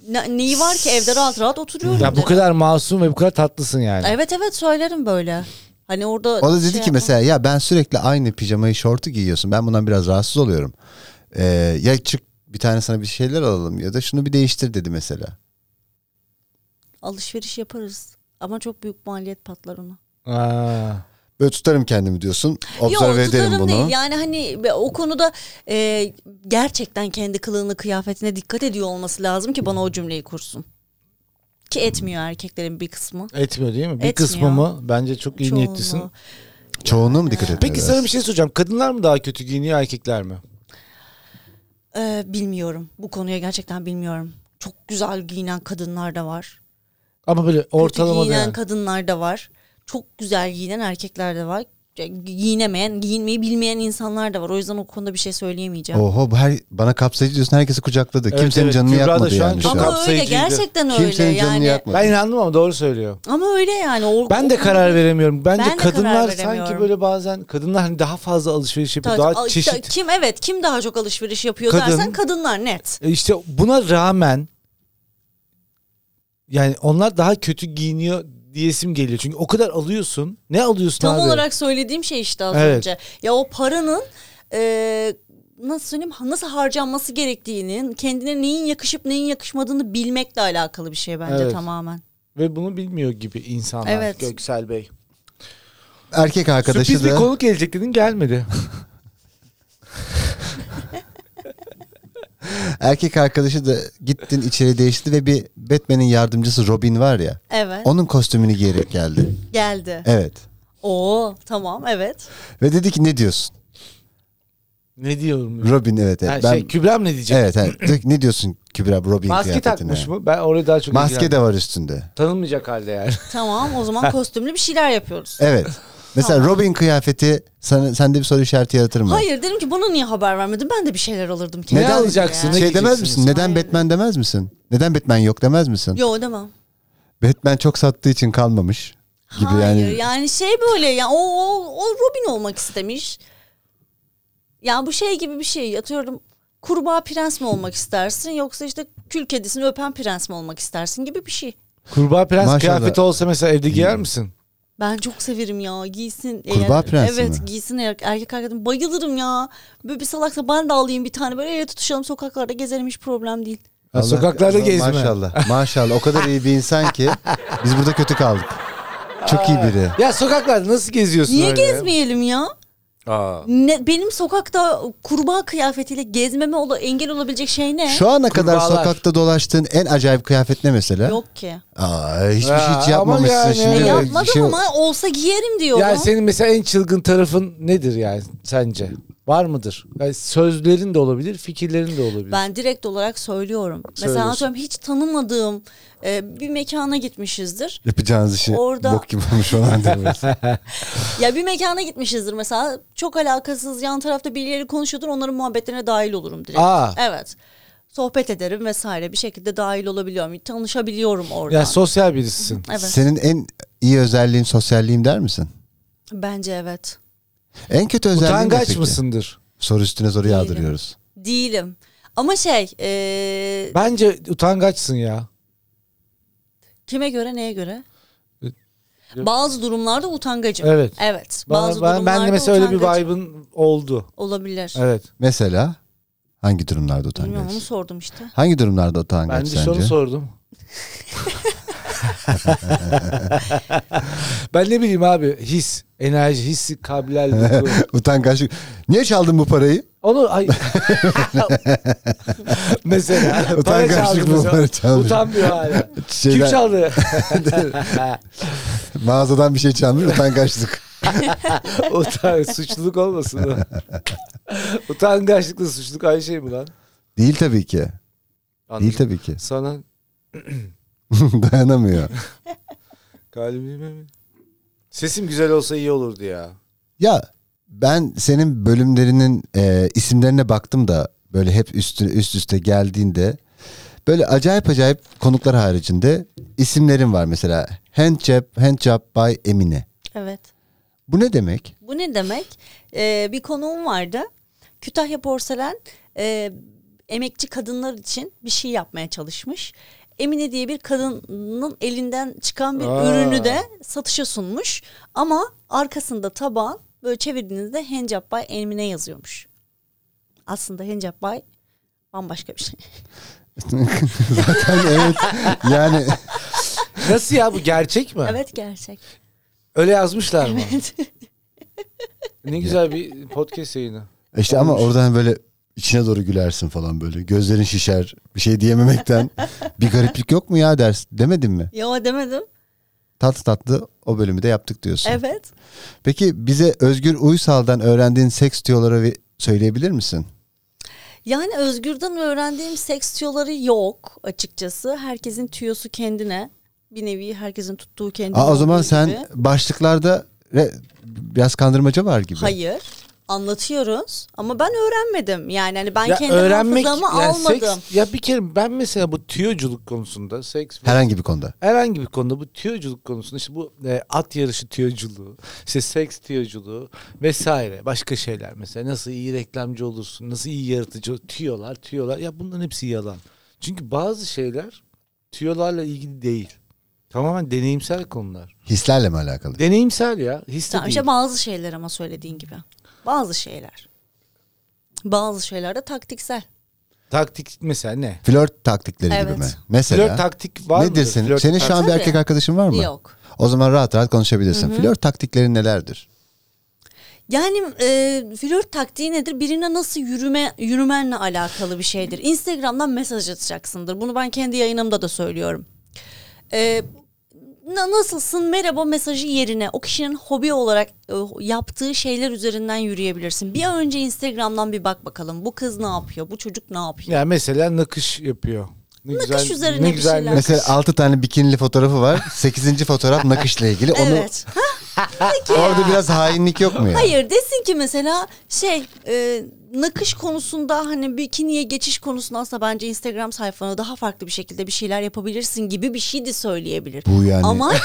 S3: ne- neyi var ki evde rahat rahat oturuyorum.
S1: Ya bu
S3: derim.
S1: kadar masum ve bu kadar tatlısın yani.
S3: Evet evet söylerim böyle. Hani orada
S2: O da dedi
S3: şey
S2: ki
S3: yapmam.
S2: mesela ya ben sürekli aynı pijamayı şortu giyiyorsun. Ben bundan biraz rahatsız oluyorum. Ee, ya çık bir tane sana bir şeyler alalım ya da şunu bir değiştir dedi mesela.
S3: alışveriş yaparız. Ama çok büyük maliyet patlar ona.
S1: Aa.
S2: Böyle tutarım kendimi diyorsun.
S3: Yok
S2: Observe ederim
S3: tutarım
S2: bunu.
S3: değil. Yani hani be- o konuda e, gerçekten kendi kılığını kıyafetine dikkat ediyor olması lazım ki bana o cümleyi kursun. Ki etmiyor erkeklerin bir kısmı.
S1: Etmiyor değil mi? Bir
S3: Etmiyor.
S1: kısmı mı? Bence çok iyi niyetlisin.
S3: Çoğunluğu.
S2: Çoğunluğa mı dikkat etmiyor?
S1: Peki sana bir şey soracağım. Kadınlar mı daha kötü giyiniyor erkekler mi?
S3: Ee, bilmiyorum. Bu konuya gerçekten bilmiyorum. Çok güzel giyinen kadınlar da var.
S1: Ama böyle
S3: Kötü
S1: ortalama da
S3: giyinen
S1: yani.
S3: kadınlar da var. Çok güzel giyinen erkekler de var. Gi- Giyinemeyen, giyinmeyi bilmeyen insanlar da var. O yüzden o konuda bir şey söyleyemeyeceğim.
S2: Oho bu her, bana kapsayıcı diyorsun herkesi kucakladı.
S1: Evet,
S2: Kimsenin
S1: evet.
S2: canını
S1: Kübra da
S2: yakmadı
S1: şu an
S2: yani
S1: çok
S2: şu an.
S1: haklı.
S3: Ama öyle
S1: Kapsayıcıydı.
S3: gerçekten
S2: Kimsenin
S3: öyle
S2: canını
S3: yani.
S2: yakmadı.
S1: Ben inandım ama doğru söylüyor.
S3: Ama öyle yani. O,
S1: Ben de
S3: o-
S1: karar veremiyorum. Bence
S3: Ben de karar
S1: kadınlar sanki
S3: veremiyorum.
S1: böyle bazen kadınlar hani daha fazla alışveriş yapıyor.
S3: Ta-
S1: Daha
S3: a-
S1: çeşit.
S3: ta- Kim evet kim daha çok alışveriş yapıyor
S1: Kadın.
S3: dersen kadınlar net.
S1: E İşte buna rağmen yani onlar daha kötü giyiniyor diyesim geliyor. Çünkü o kadar alıyorsun. Ne alıyorsun
S3: Tam
S1: abi?
S3: olarak söylediğim şey işte az
S1: Evet.
S3: önce. Ya o paranın e, nasıl söyleyeyim nasıl harcanması gerektiğinin kendine neyin yakışıp neyin yakışmadığını bilmekle alakalı bir şey bence
S1: Evet.
S3: tamamen.
S1: Ve bunu bilmiyor gibi insanlar.
S3: Evet.
S1: Göksel Bey.
S2: Erkek arkadaşı
S1: Sürpriz bir
S2: da
S1: konuk gelecek dedin <laughs> gelmedi.
S2: erkek arkadaşı da gittin içeri değişti ve bir Batman'in yardımcısı Robin var ya.
S3: Evet.
S2: Onun kostümünü giyerek geldi.
S3: Geldi.
S2: Evet.
S3: Oo tamam evet.
S2: Ve dedi ki ne diyorsun?
S1: ne diyorum?
S2: Robin evet.
S1: Ha,
S2: evet.
S1: şey, Kübra mı ne diyecek?
S2: Evet, evet. Diyor ki, ne diyorsun Kübra bu Robin
S1: Maske
S2: kıyafetine?
S1: takmış mı? Ben oraya daha çok
S2: Maske
S1: ilgilendim.
S2: de var üstünde.
S1: Tanınmayacak halde yani.
S3: Tamam o zaman kostümlü bir şeyler yapıyoruz. <laughs>
S2: Evet. Mesela Robin kıyafeti sana, sende bir soru işareti yaratır mı?
S3: Hayır dedim ki bana niye haber vermedin? Ben de bir şeyler alırdım
S1: Ne
S3: kendime.
S1: alacaksın? Ne
S2: Şey demez
S1: giyeceksiniz?
S2: misin? Neden Batman demez misin? Neden Batman yok demez misin?
S3: Yok demem.
S2: Batman çok sattığı için kalmamış gibi
S3: Hayır yani,
S2: yani.
S3: şey böyle ya o, o, o Robin olmak istemiş. Ya bu şey gibi bir şey atıyorum kurbağa prens mi olmak istersin yoksa işte kül kedisini öpen prens mi olmak istersin gibi bir şey.
S1: Kurbağa prens
S2: Maşallah.
S1: kıyafeti olsa mesela evde giyer misin?
S3: Ben çok severim ya giysin.
S2: Kurbağa prensi
S3: Evet
S2: mi?
S3: giysin er- erkek arkadaşım bayılırım ya. Böyle bir salaksa ben de alayım bir tane böyle ele tutuşalım sokaklarda gezelim hiç problem değil.
S1: Ha,
S2: Allah-
S1: sokaklarda
S2: Allah-
S1: gezme.
S2: Maşallah. Maşallah. O kadar iyi bir insan ki biz burada kötü kaldık. Çok iyi biri.
S1: Ya sokaklarda nasıl geziyorsun
S3: Niye
S1: öyle?
S3: gezmeyelim ya?
S1: Aa.
S3: Ne, benim sokakta kurbağa kıyafetiyle gezmeme ola, engel olabilecek şey ne?
S2: Şu ana kadar
S1: Kurbağalar.
S2: sokakta dolaştığın en acayip kıyafet ne mesela?
S3: Yok ki.
S2: Aa, hiçbir şey
S1: Ha,
S2: hiç
S1: ama
S2: yapmamışsın
S1: yani
S2: şimdi.
S3: E,
S1: evet,
S3: yapmadım
S2: Şey-
S3: ama olsa giyerim diyorum.
S1: Yani senin mesela en çılgın tarafın nedir yani sence? Var mıdır? Yani sözlerin de olabilir, fikirlerin de olabilir.
S3: Ben direkt olarak söylüyorum. Mesela
S1: Söylüyorsun.
S3: atıyorum hiç tanımadığım e, bir mekana gitmişizdir.
S2: Yapacağınız işi
S3: Orada-
S2: bok gibi olmuş falan demiyoruz.
S3: Ya bir mekana gitmişizdir mesela çok alakasız yan tarafta birileri konuşuyordur onların muhabbetlerine dahil olurum direkt.
S1: Aa.
S3: Evet. Sohbet ederim vesaire bir şekilde dahil olabiliyorum. Tanışabiliyorum oradan.
S1: Ya sosyal birisisin.
S3: <laughs> evet.
S2: Senin en iyi özelliğin sosyalliğim der misin?
S3: Bence evet.
S2: En kötü özelliğin ne
S1: Utangaç
S2: peki?
S1: mısındır?
S2: Soru üstüne soru
S3: Değilim.
S2: yağdırıyoruz.
S3: Değilim. Ama şey e,
S1: Bence utangaçsın ya.
S3: kime göre neye göre?
S1: Yok.
S3: Bazı durumlarda utangacım.
S1: E, Evet.
S3: Evet.
S1: Bana-
S3: bazı
S1: ben, ben
S3: durumlarda
S1: de mesela öyle bir
S3: utangacım
S1: vibe'ın oldu.
S3: olabilir.
S1: Evet.
S2: Mesela hangi durumlarda
S3: Bilmiyorum onu
S2: utangaç?
S3: sordum işte.
S2: Hangi durumlarda
S1: Ben
S2: utangaç
S1: bir
S2: sence?
S1: soru sordum. ben ne bileyim abi his, enerji, hissi, kabiler.
S2: <laughs> <laughs> Utangaçlık. Niye çaldın bu <laughs> parayı?
S1: Onu ay <laughs> mesela para çaldı
S2: Utangaçlık bu
S1: mesela.
S2: parayı çalmış.
S1: Utanmıyor <laughs> hala. Kim
S2: Şeyden-
S1: <laughs> çaldı?
S2: Mağazadan bir şey çalmış utangaçlık. <laughs>
S1: Utan, suçluluk olmasın. o. Utangaçlıkla suçluluk aynı şey mi lan?
S2: Değil tabii ki. Değil
S1: Anladım.
S2: tabii ki. <laughs>
S1: Sana
S2: Dayanamıyor.
S1: kalbime mi? Sesim güzel olsa iyi olurdu ya.
S2: Ya ben senin bölümlerinin e, isimlerine baktım da böyle hep üstü, üst üste geldiğinde böyle acayip acayip konuklar haricinde isimlerin var mesela. Handjob, Handjob by Emine.
S3: Evet.
S2: Bu ne demek?
S3: Bu ne demek? Ee, bir konuğum vardı. Kütahya Porselen e, emekçi kadınlar için bir şey yapmaya çalışmış. Emine diye bir kadının elinden çıkan bir
S1: Aa.
S3: ürünü de satışa sunmuş. Ama arkasında tabağın böyle çevirdiğinizde Handjob by Emine yazıyormuş. Aslında Handjob by bambaşka bir şey.
S2: Zaten <laughs> evet yani
S1: Nasıl ya bu gerçek mi?
S3: evet gerçek. <laughs>
S1: Öyle yazmışlar mı?
S3: Evet.
S1: Ne güzel bir podcast yayını.
S2: işte ama oradan böyle içine doğru gülersin falan böyle. Gözlerin şişer bir şey diyememekten <laughs> bir gariplik yok mu ya ders demedin mi?
S3: Yo demedim.
S2: Tatlı tatlı o bölümü de yaptık diyorsun.
S3: Evet.
S2: Peki bize Özgür Uysal'dan öğrendiğin seks tüyoları ve- söyleyebilir misin?
S3: Yani Özgür'den öğrendiğim seks tüyoları yok açıkçası. Herkesin tüyosu kendine. Bir nevi herkesin tuttuğu kendine.
S2: Aa, o zaman
S3: olduğu
S2: sen
S3: gibi.
S2: başlıklarda re- biraz kandırmaca var gibi.
S3: Hayır. Anlatıyoruz ama ben öğrenmedim. Yani hani ben
S1: ya
S3: kendi
S1: öğrenmek
S3: hafızamı
S1: yani seks-
S3: almadım.
S1: ya bir kere ben mesela bu tüyoculuk konusunda seks ve-
S2: Herhangi bir konuda.
S1: herhangi bir konuda bu tüyoculuk konusunda işte bu e, at yarışı tüyoculuğu, işte seks tüyoculuğu vesaire başka şeyler mesela nasıl iyi reklamcı olursun, nasıl iyi yaratıcı ol- tüyolar, tüyolar ya bunların hepsi yalan. Çünkü bazı şeyler tüyolarla ilgili değil. Tamamen deneyimsel konular.
S2: Hislerle mi alakalı?
S1: Deneyimsel ya. Hisse
S3: Tamam
S1: değil.
S3: işte bazı şeyler ama söylediğin gibi. Bazı şeyler. Bazı şeyler de taktiksel.
S1: Taktik mesela ne?
S2: Flört taktikleri
S3: Evet.
S2: gibi mi? Mesela
S1: Flört taktik var
S2: nedir
S1: mıdır?
S2: senin?
S1: Flört
S2: senin şu an bir
S3: taktik-
S2: erkek arkadaşın var mı?
S3: Yok.
S2: O zaman rahat rahat konuşabilirsin. Flört taktikleri nelerdir?
S3: Yani e, flört taktiği nedir? Birine nasıl yürüme yürümenle alakalı bir şeydir. Instagram'dan mesaj atacaksındır. Bunu ben kendi yayınımda da söylüyorum. E, na- nasılsın merhaba mesajı yerine o kişinin hobi olarak e, yaptığı şeyler üzerinden yürüyebilirsin. Bir önce Instagram'dan bir bak bakalım. Bu kız ne yapıyor? Bu çocuk ne yapıyor?
S1: Ya mesela nakış yapıyor. Ne
S3: Nakış üzerine bir şeyler.
S1: nakış.
S2: Mesela 6 tane bikinili fotoğrafı var. 8. fotoğraf nakışla ilgili. Onu
S3: Evet.
S2: orada biraz hainlik yok mu ya?
S3: Hayır desin ki mesela şey e, nakış konusunda hani bikiniye geçiş konusunda aslında bence Instagram sayfana daha farklı bir şekilde bir şeyler yapabilirsin gibi bir şey de söyleyebilir.
S2: Bu yani.
S3: Amaç
S1: <laughs>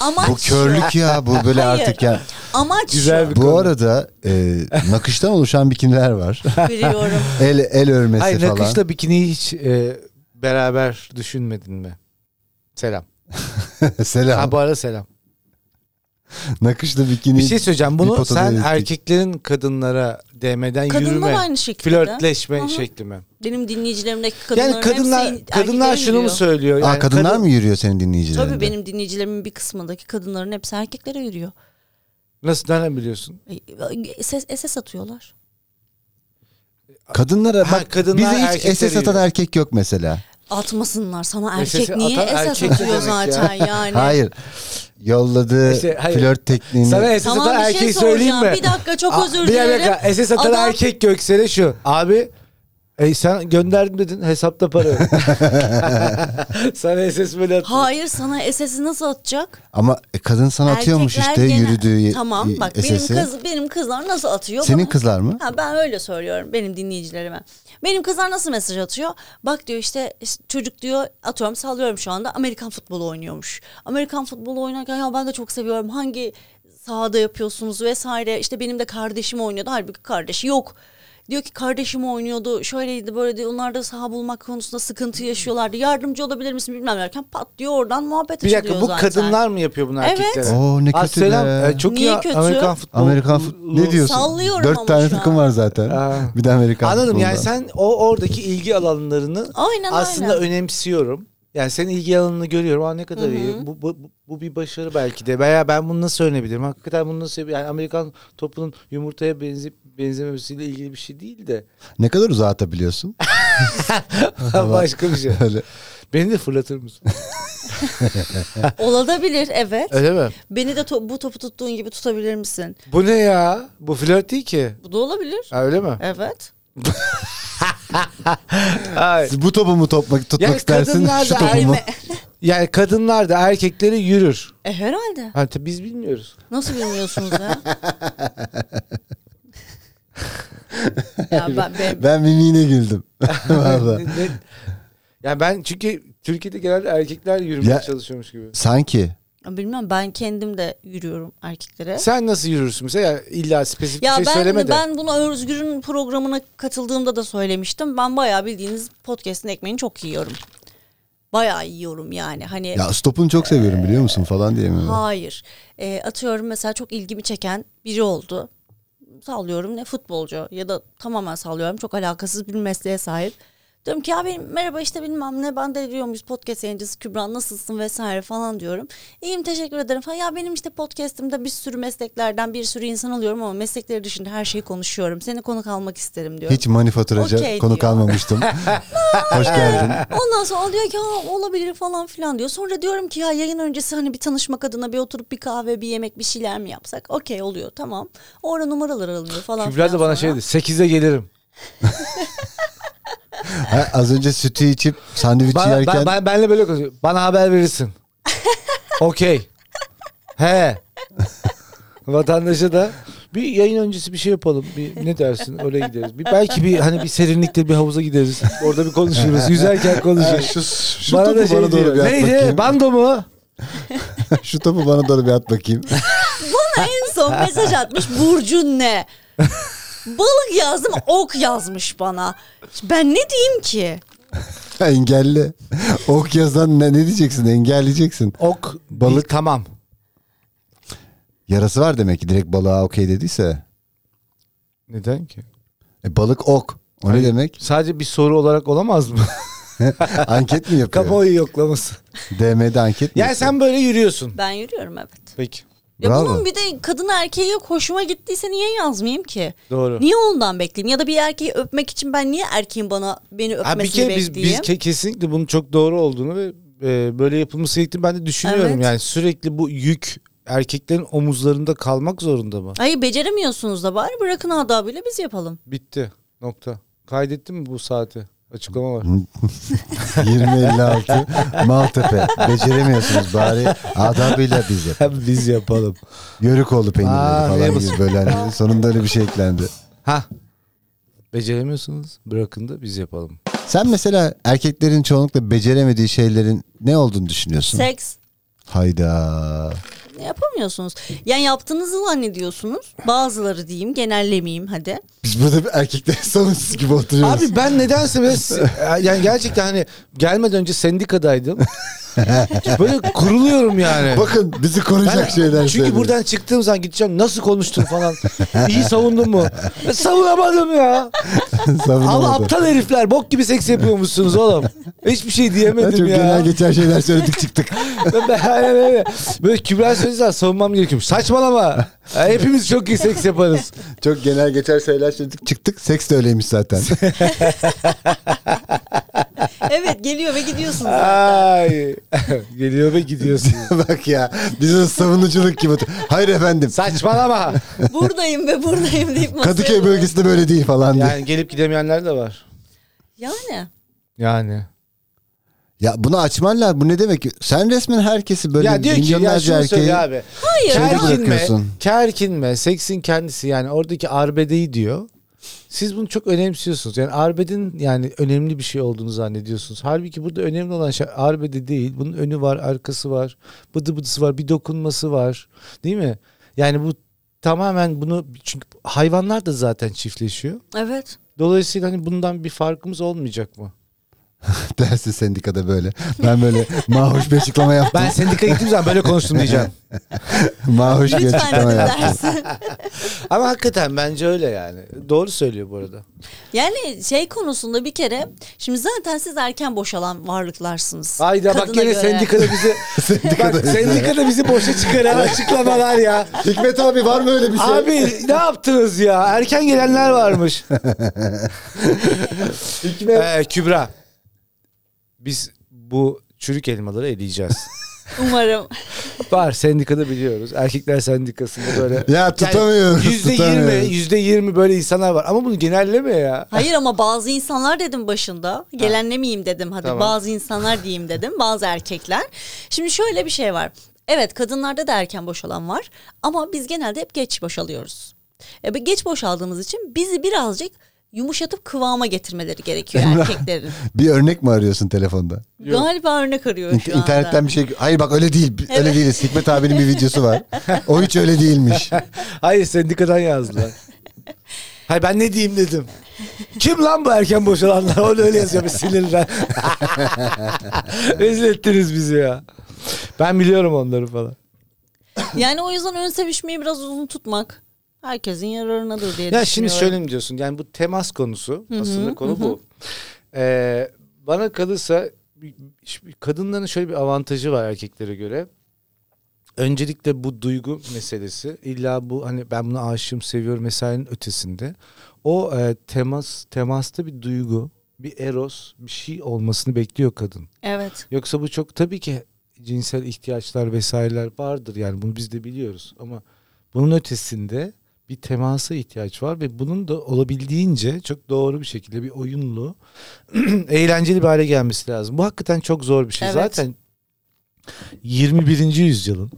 S3: amaç
S2: Bu körlük ya. Bu böyle
S3: Hayır.
S2: artık ya.
S3: amaç
S1: Güzel bir
S2: Bu
S1: konu.
S2: arada e, nakıştan oluşan
S1: <laughs>
S2: bikiniler var.
S3: şu, biliyorum.
S2: El el örmesi
S1: Hayır
S2: falan.
S1: nakışla bikiniyi hiç e, beraber düşünmedin mi? Selam.
S2: <laughs> Selam.
S1: Ha bu arada selam.
S2: Nakışlı bikini.
S1: Bir şey söyleyeceğim.
S2: bir
S1: Bunu
S2: potada
S1: sen
S2: yedik.
S1: erkeklerin kadınlara DM'den
S3: Kadınlar
S1: yürüme,
S3: aynı şekilde.
S1: flörtleşme
S3: Hı hı.
S1: şekli mi?
S3: Benim dinleyicilerimdeki kadınların
S1: Yani kadınlar
S3: hepsi
S1: kadınlar
S3: erkeklere
S1: şunu mu
S3: yürüyor.
S1: söylüyor?
S2: Aa,
S1: Yani
S2: kadınlar
S1: kadın-
S2: mı yürüyor senin dinleyicilerinde?
S3: Tabii benim dinleyicilerimin bir kısmındaki kadınların hepsi erkeklere yürüyor.
S1: Nasıl nereden biliyorsun?
S3: E, SS, SS atıyorlar.
S2: Kadınlara
S1: Ha,
S2: bak
S1: kadınlar
S2: bizi
S1: erkekleri
S2: hiç SS atan
S1: yiyor.
S2: erkek yok mesela.
S3: Atmasınlar sana
S1: SS
S3: erkek niye
S1: atan
S3: SS
S1: erkek ne
S3: atıyor
S1: demek ya?
S3: zaten yani.
S2: Hayır. Yolladığı
S1: İşte, hayır.
S2: flört tekniğini.
S1: Sana SS
S3: Tamam,
S1: atan
S3: bir şey
S1: erkeği
S3: soracağım.
S1: söyleyeyim mi?
S3: Bir dakika, çok
S1: Aa,
S3: özür
S1: bir
S3: dilerim.
S1: dakika SS atan
S3: Adam-
S1: erkek Göksel'e şu. Abi e, sen gönderdim dedin hesapta para
S2: <laughs>
S1: yok. Sana SS böyle attı.
S3: Hayır sana SS'i nasıl atacak?
S2: Ama e, kadın sana atıyormuş
S3: Erkekler
S2: işte
S3: gene-
S2: yürüdüğü
S3: Tamam bak
S2: SS'i.
S3: benim kız benim kızlar nasıl atıyor?
S2: Senin
S3: Bana-
S2: kızlar mı?
S3: Ha, ben öyle söylüyorum benim dinleyicilerime. Benim kızlar nasıl mesaj atıyor? Bak diyor işte işte çocuk diyor atıyorum sallıyorum şu anda Amerikan futbolu oynuyormuş. Amerikan futbolu oynarken ya ben de çok seviyorum hangi sahada yapıyorsunuz vesaire. İşte benim de kardeşim oynuyordu halbuki kardeşi yok. Diyor ki kardeşim oynuyordu şöyleydi böyle diyor onlar da saha bulmak konusunda sıkıntı yaşıyorlardı. Yardımcı olabilir misin bilmem derken pat diyor oradan muhabbet
S1: Bir
S3: açılıyor
S1: dakika bu
S3: zaten.
S1: kadınlar mı yapıyor bunu
S3: Evet.
S1: erkeklere?
S2: Oo, ne
S1: Ah,
S2: kötü
S1: selam.
S2: be.
S1: E, çok
S3: Niye
S1: iyi
S3: kötü?
S1: Amerikan futbolu.
S2: Amerikan fut- ne diyorsun?
S3: Sallıyorum
S2: Dört
S3: ama
S2: tane
S3: şu
S2: takım
S3: an.
S2: var zaten.
S1: Aa.
S2: Bir de Amerikan
S1: Anladım yani
S2: futbolundan.
S1: sen o oradaki ilgi alanlarını
S3: Aynen,
S1: aslında
S3: aynen.
S1: önemsiyorum. Yani senin ilgi alanını görüyorum. Aa ne kadar iyi. Bu, bu, bu bir başarı belki de. Veya ben bunu nasıl öğrenebilirim? Hakikaten bunu nasıl yani Amerikan topunun yumurtaya benzeyip benzememesiyle ilgili bir şey değil
S2: <laughs>
S1: de <laughs>
S2: Ne kadar uzağa atabiliyorsun?
S1: başka bir şey.
S2: Öyle.
S1: Beni de fırlatır
S2: <laughs>
S1: mısın?
S3: Olabilir evet.
S1: Öyle mi?
S3: Beni de to- bu topu tuttuğun gibi tutabilir misin?
S1: Bu ne ya? Bu flört değil ki.
S3: Bu da olabilir.
S1: Ha, öyle mi?
S3: Evet.
S1: Hayır.
S2: Bu topu mu topmak, tutmak
S1: Yani
S2: istersin?
S1: kadınlar
S2: Şu
S1: da
S2: topu mu?
S1: aynı. Yani kadınlar da erkekleri yürür.
S3: E herhalde.
S1: Hani tabii biz bilmiyoruz.
S3: Nasıl
S1: <laughs>
S3: bilmiyorsunuz ya? ya ben,
S2: <laughs>
S3: ben-
S2: Ben mimiğine
S1: <laughs>
S2: güldüm. Vallahi.
S1: Ne- ne- ya ben çünkü Türkiye'de genelde erkekler yürümeye
S2: Ya-
S1: çalışıyormuş gibi.
S2: Sanki.
S3: bilmem ben kendim de yürüyorum erkeklere.
S1: Sen nasıl yürürsün mesela? Ya illa spesifik
S3: Ya
S1: bir şey
S3: ben hani
S1: söyleme de.
S3: ben bunu Özgür'ün programına katıldığımda da söylemiştim. Ben bayağı bildiğiniz podcast'in ekmeğini çok yiyorum. Bayağı yiyorum yani. Hani
S2: Ya stopunu çok seviyorum biliyor musun falan diye mi?
S3: Hayır. Ee, atıyorum mesela çok ilgimi çeken biri oldu. Sallıyorum ne futbolcu ya da tamamen sallıyorum çok alakasız bir mesleğe sahip. Diyorum ki ya benim merhaba işte bilmem ne ben de diyormuş podcast yayıncısı Kübra nasılsın vesaire falan diyorum. İyiyim teşekkür ederim falan. Ya benim işte podcastimde bir sürü mesleklerden bir sürü insan alıyorum ama meslekleri dışında her şeyi konuşuyorum. Seni konuk almak isterim diyorum.
S2: Hiç manifaturaca
S3: Okey
S2: konuk
S3: diyor. <laughs>
S2: almamıştım. Hoş geldin.
S3: Ondan sonra o diyor ki "Ha, olabilir falan filan diyor. Sonra diyorum ki ya yayın öncesi hani bir tanışmak adına bir oturup bir kahve bir yemek bir şeyler mi yapsak? Okey oluyor tamam. Orada numaralar alınıyor falan
S1: Kübra da
S3: filan
S1: bana
S3: sonra.
S1: şey dedi. 8'de gelirim.
S2: Ha, az önce sütü içip sandviç
S1: Bana,
S2: yerken
S1: ben, ben, benle böyle konuşuyor. Bana haber
S3: <laughs>
S1: verirsin. Okey. He. Vatandaşa da bir yayın öncesi bir şey yapalım. Bir ne dersin? Öyle gideriz. Bir, belki bir hani bir serinlikte bir havuza gideriz. Orada bir <laughs> konuşuruz. Yüzerken
S2: Ha,
S1: konuşuruz.
S2: şu, şu
S1: Bana
S2: topu
S1: da şey
S2: bana doğru
S1: diyor.
S2: bir at
S1: Neydi?
S2: bakayım.
S1: Bando mu?
S2: <laughs> Şu topu bana doğru bir at bakayım.
S3: Bana
S1: <laughs>
S3: en son mesaj atmış Burcun ne? Balık yazdım ok yazmış bana. Ben ne diyeyim ki?
S2: Engelli. <laughs> Ok yazan ne, ne diyeceksin? Engelleyeceksin.
S1: Ok,
S2: Balık.
S1: balık tamam.
S2: Yarası var demek ki direkt balığa okey dediyse.
S1: Neden ki?
S2: E, balık ok. O ne
S1: Hayır.
S2: demek?
S1: Sadece bir soru olarak olamaz mı?
S2: Anket mi
S1: <laughs>
S2: yapıyor?
S1: Kamuoyu yoklaması. <laughs>
S2: DM'de anket mi?
S1: Yani sen böyle yürüyorsun.
S3: Ben yürüyorum evet.
S1: Peki.
S3: Ya
S2: Bravo.
S3: bunun bir de kadın erkeği yok hoşuma gittiyse niye yazmayayım ki?
S1: Doğru.
S3: Niye ondan bekleyeyim? Ya da bir erkeği öpmek için ben niye erkeğin bana beni öpmesini
S1: Ha, bir kere biz, biz
S3: bekleyeyim?
S1: ke- kesinlikle bunun çok doğru olduğunu ve e, böyle yapılması gerektiğini ben de düşünüyorum.
S3: Evet.
S1: Yani sürekli bu yük erkeklerin omuzlarında kalmak zorunda mı?
S3: Ay beceremiyorsunuz da bari bırakın adabıyla biz yapalım.
S1: Bitti. Nokta. Kaydettin mi bu saati? Açıklama var.
S2: <laughs> 2056 Maltepe. Beceremiyorsunuz bari. Adabıyla biz yap.
S1: <laughs> Biz yapalım.
S2: Yörükoğlu peynirleri
S1: Aa,
S2: falan
S1: ne bu-
S2: gibi böyle hani Sonunda öyle bir şey eklendi.
S1: ha. Beceremiyorsunuz. Bırakın da biz yapalım.
S2: Sen mesela erkeklerin çoğunlukla beceremediği şeylerin ne olduğunu düşünüyorsun?
S3: Seks
S2: Hayda.
S3: yapamıyorsunuz. Yani yaptığınızı zannediyorsunuz. Bazıları diyeyim genellemeyeyim hadi.
S2: Biz burada bir erkekler <laughs> savunsuz gibi oturuyoruz.
S1: e, Abi ben nedense böyle- yani gerçekten hani gelmeden önce sendikadaydım. <laughs> Böyle kuruluyorum yani.
S2: Bakın bizi koruyacak şeyler
S1: Çünkü
S2: söylüyor.
S1: buradan çıktığım zaman gideceğim nasıl konuştun falan. İyi savundun mu? E, savunamadım ya. Allah
S2: <laughs> Savunamadı.
S1: aptal herifler bok gibi seks yapıyormuşsunuz oğlum. Hiçbir şey
S2: Ya Çok
S1: diyemedim ya.
S2: genel geçer şeyler söyledik çıktık. <laughs>
S1: Ben- ben- aynen öyle. Böyle Kübra Sözler savunmam gerekiyor. Saçmalama. Ya Hepimiz çok iyi seks yaparız.
S2: Çok genel geçer şeyler söyledik çıktık. Seks de
S1: <laughs>
S2: öyleymiş zaten.
S3: evet geliyor
S2: <laughs>
S3: ve gidiyorsunuz.
S1: Ay. Geliyor ve gidiyorsun.
S2: Bak ya bizim savunuculuk gibi. Hayır efendim.
S1: Saçmalama.
S3: buradayım ve buradayım deyip masaya
S2: Kadıköy
S3: vuruyor.
S2: bölgesinde böyle değil falan diye.
S1: Yani gelip gidemeyenler de var.
S3: Yani.
S1: Yani.
S2: Ya bunu açmanlar bu ne demek? Sen resmen herkesi böyle
S1: ya diyor ki ya
S2: milyonlarca
S1: şunu
S2: erkeği
S1: söyle abi.
S3: Hayır.
S2: Şeyde
S3: ya.
S2: bırak-
S1: Kerkinme,
S2: bırakıyorsun.
S1: kerkinme, seksin kendisi yani oradaki arbedeyi diyor. Siz bunu çok önemsiyorsunuz. Yani arbedin yani önemli bir şey olduğunu zannediyorsunuz. Halbuki burada önemli olan şey arbede değil. Bunun önü var, arkası var, bıdı bıdısı var, bir dokunması var. Değil mi? Yani bu tamamen bunu çünkü hayvanlar da zaten çiftleşiyor.
S3: Evet.
S1: Dolayısıyla hani bundan bir farkımız olmayacak mı?
S2: dersi sendikada böyle. Ben böyle mahoş bir açıklama yaptım.
S1: Ben sendikaya gittiğim zaman böyle konuştum diyeceğim.
S2: mahoş bir Şey
S3: Lütfen
S2: açıklama
S3: bize
S2: yaptım.
S3: dersin.
S1: <laughs> Ama hakikaten bence öyle yani. Doğru söylüyor bu arada.
S3: Yani şey konusunda bir kere şimdi zaten siz erken boşalan varlıklarsınız.
S1: Hayda bak
S3: Kadına
S1: gene
S3: göre.
S1: sendikada bizi
S3: <laughs>
S1: bak sendikada bizi boşa çıkaran açıklamalar ya.
S2: Hikmet abi var mı öyle bir şey?
S1: Abi ne yaptınız ya? Erken gelenler <laughs> varmış. Ee, Kübra. Biz bu çürük elmaları eleyeceğiz.
S3: Umarım.
S1: Var sendikada biliyoruz. Erkekler sendikasında böyle.
S2: Ya tutamıyoruz,
S1: Yüzde yirmi,
S2: tutamıyoruz.
S1: yüzde yirmi böyle insanlar var. Ama bunu genelleme ya.
S3: Hayır ama bazı insanlar dedim başında. Gelenlemeyeyim dedim hadi.
S1: Tamam.
S3: Bazı insanlar diyeyim dedim. Bazı erkekler. Şimdi şöyle bir şey var. Evet kadınlarda da erken boşalan var. Ama biz genelde hep geç boşalıyoruz. E, bu geç boşaldığımız için bizi birazcık yumuşatıp kıvama getirmeleri
S1: <laughs>
S3: gerekiyor erkeklerin.
S2: Bir örnek mi arıyorsun telefonda?
S3: Galiba örnek arıyorum
S2: İnt-
S3: şu anda.
S2: İnternetten bir şey... Hayır bak öyle değil. Öyle değiliz. Hikmet abinin bir videosu var. O hiç öyle
S3: <laughs>
S2: değilmiş.
S1: Hayır sendikadan yazdılar. Hayır ben ne diyeyim dedim. Kim lan bu erken boşalanlar? Onu öyle yazıyor bir sinirden. Rezil ettiniz bizi ya. Ben biliyorum onları falan.
S3: Yani o yüzden ön sevişmeyi biraz uzun tutmak herkesin yararınadır diye
S1: Ya şimdi
S3: düşünüyorum.
S1: şöyle mi diyorsun? Yani bu temas konusu aslında konu bu. Ee, bana kalırsa şimdi kadınların şöyle bir avantajı var erkeklere göre. Öncelikle bu duygu meselesi illa bu hani ben bunu aşığım seviyorum mesai'nin ötesinde. O e, temas temasta bir duygu bir eros bir şey olmasını bekliyor kadın.
S3: Evet.
S1: Yoksa bu çok tabii ki cinsel ihtiyaçlar vesaireler vardır yani bunu biz de biliyoruz ama bunun ötesinde bir temasa ihtiyaç var ve bunun da olabildiğince çok doğru bir şekilde bir oyunlu <clears throat> eğlenceli bir hale gelmesi lazım. Bu hakikaten çok zor bir şey.
S3: Evet.
S1: Zaten 21. yüzyılın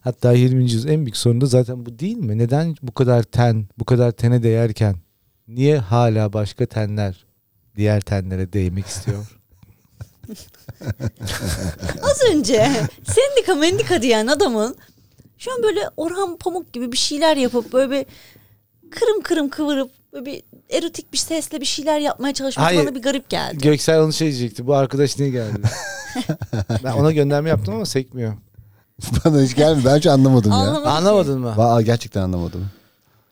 S1: hatta 20. yüzyılın en büyük sorunu da zaten bu değil mi? Neden bu kadar ten, bu kadar tene değerken niye hala başka tenler diğer tenlere değmek istiyor?
S3: Az önce sendika mendika diyen adamın şu an böyle Orhan Pamuk gibi bir şeyler yapıp böyle bir kırım kırım kıvırıp böyle bir erotik bir sesle bir şeyler yapmaya çalışması
S1: Hayır.
S3: bana bir garip geldi.
S1: Göksel onu şey diyecekti. Bu arkadaş niye
S3: <laughs>
S1: geldi? ben ona gönderme yaptım ama sekmiyor.
S2: Bana hiç gelmedi. Ben hiç anlamadım ya.
S3: Anlamadım.
S1: Anlamadın mı?
S2: Aa, gerçekten anlamadım.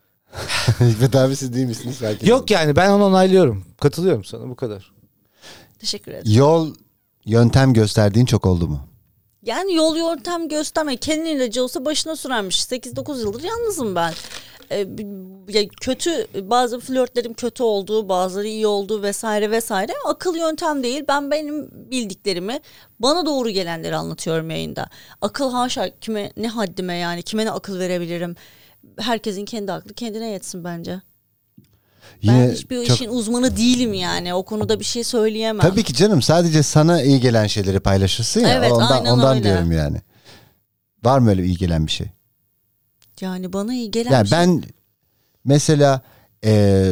S2: <laughs> Hikmet abi siz değil misiniz? Fark etmedim.
S1: Yok yani ben onu onaylıyorum. Katılıyorum sana bu kadar.
S3: Teşekkür ederim.
S2: Yol yöntem gösterdiğin çok oldu mu?
S3: Yani yol yöntem gösterme. Kendi ilacı olsa başına sürermiş. 8-9 yıldır yalnızım ben. Ee, b- ya kötü bazı flörtlerim kötü olduğu bazıları iyi olduğu vesaire vesaire akıl yöntem değil ben benim bildiklerimi bana doğru gelenleri anlatıyorum yayında akıl haşa kime ne haddime yani kime ne akıl verebilirim herkesin kendi aklı kendine yetsin bence ben hiçbir işin uzmanı değilim yani o konuda bir şey söyleyemem
S2: Tabii ki canım sadece sana iyi gelen şeyleri paylaşırsın ya.
S3: Evet,
S2: ondan
S3: aynen
S2: ondan
S3: öyle.
S2: diyorum yani. Var mı öyle iyi gelen bir şey?
S3: yani bana iyi gelen
S2: yani
S3: bir şey-
S2: ben mesela e,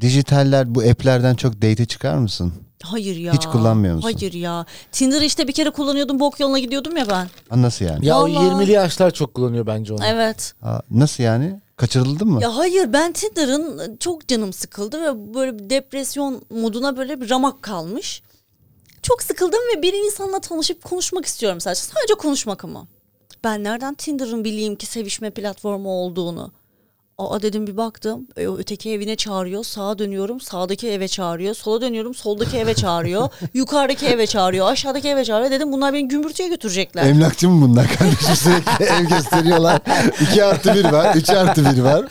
S2: dijitaller bu app'lerden çok date çıkar mısın?
S3: Hayır ya.
S2: Hiç kullanmıyor musun?
S3: Hayır ya. Tinder işte bir kere kullanıyordum bok yoluna gidiyordum ya ben.
S2: Ha, nasıl yani?
S1: Ya o
S3: Vallahi.
S1: 20'li yaşlar çok kullanıyor bence onu.
S3: Evet.
S2: Ha, nasıl yani? Kaçırıldın mı?
S3: Ya hayır ben ıı, Tinder'ın çok canım sıkıldı ve böyle bir depresyon moduna böyle bir ramak kalmış. Çok sıkıldım ve bir insanla tanışıp konuşmak istiyorum sadece. Sadece konuşmak ama. Ben nereden Tinder'ın bileyim ki sevişme platformu olduğunu. Aa dedim bir baktım. E, o öteki evine çağırıyor. Sağa dönüyorum. Sağdaki eve çağırıyor. Sola dönüyorum. Soldaki eve çağırıyor. Yukarıdaki eve çağırıyor. Aşağıdaki eve çağırıyor. Dedim bunlar beni gümbürtüye götürecekler.
S2: Emlakçı mı bunlar
S3: <laughs>
S2: kardeşim sürekli ev gösteriyorlar. 2 artı 1 var, 3 artı 1 var.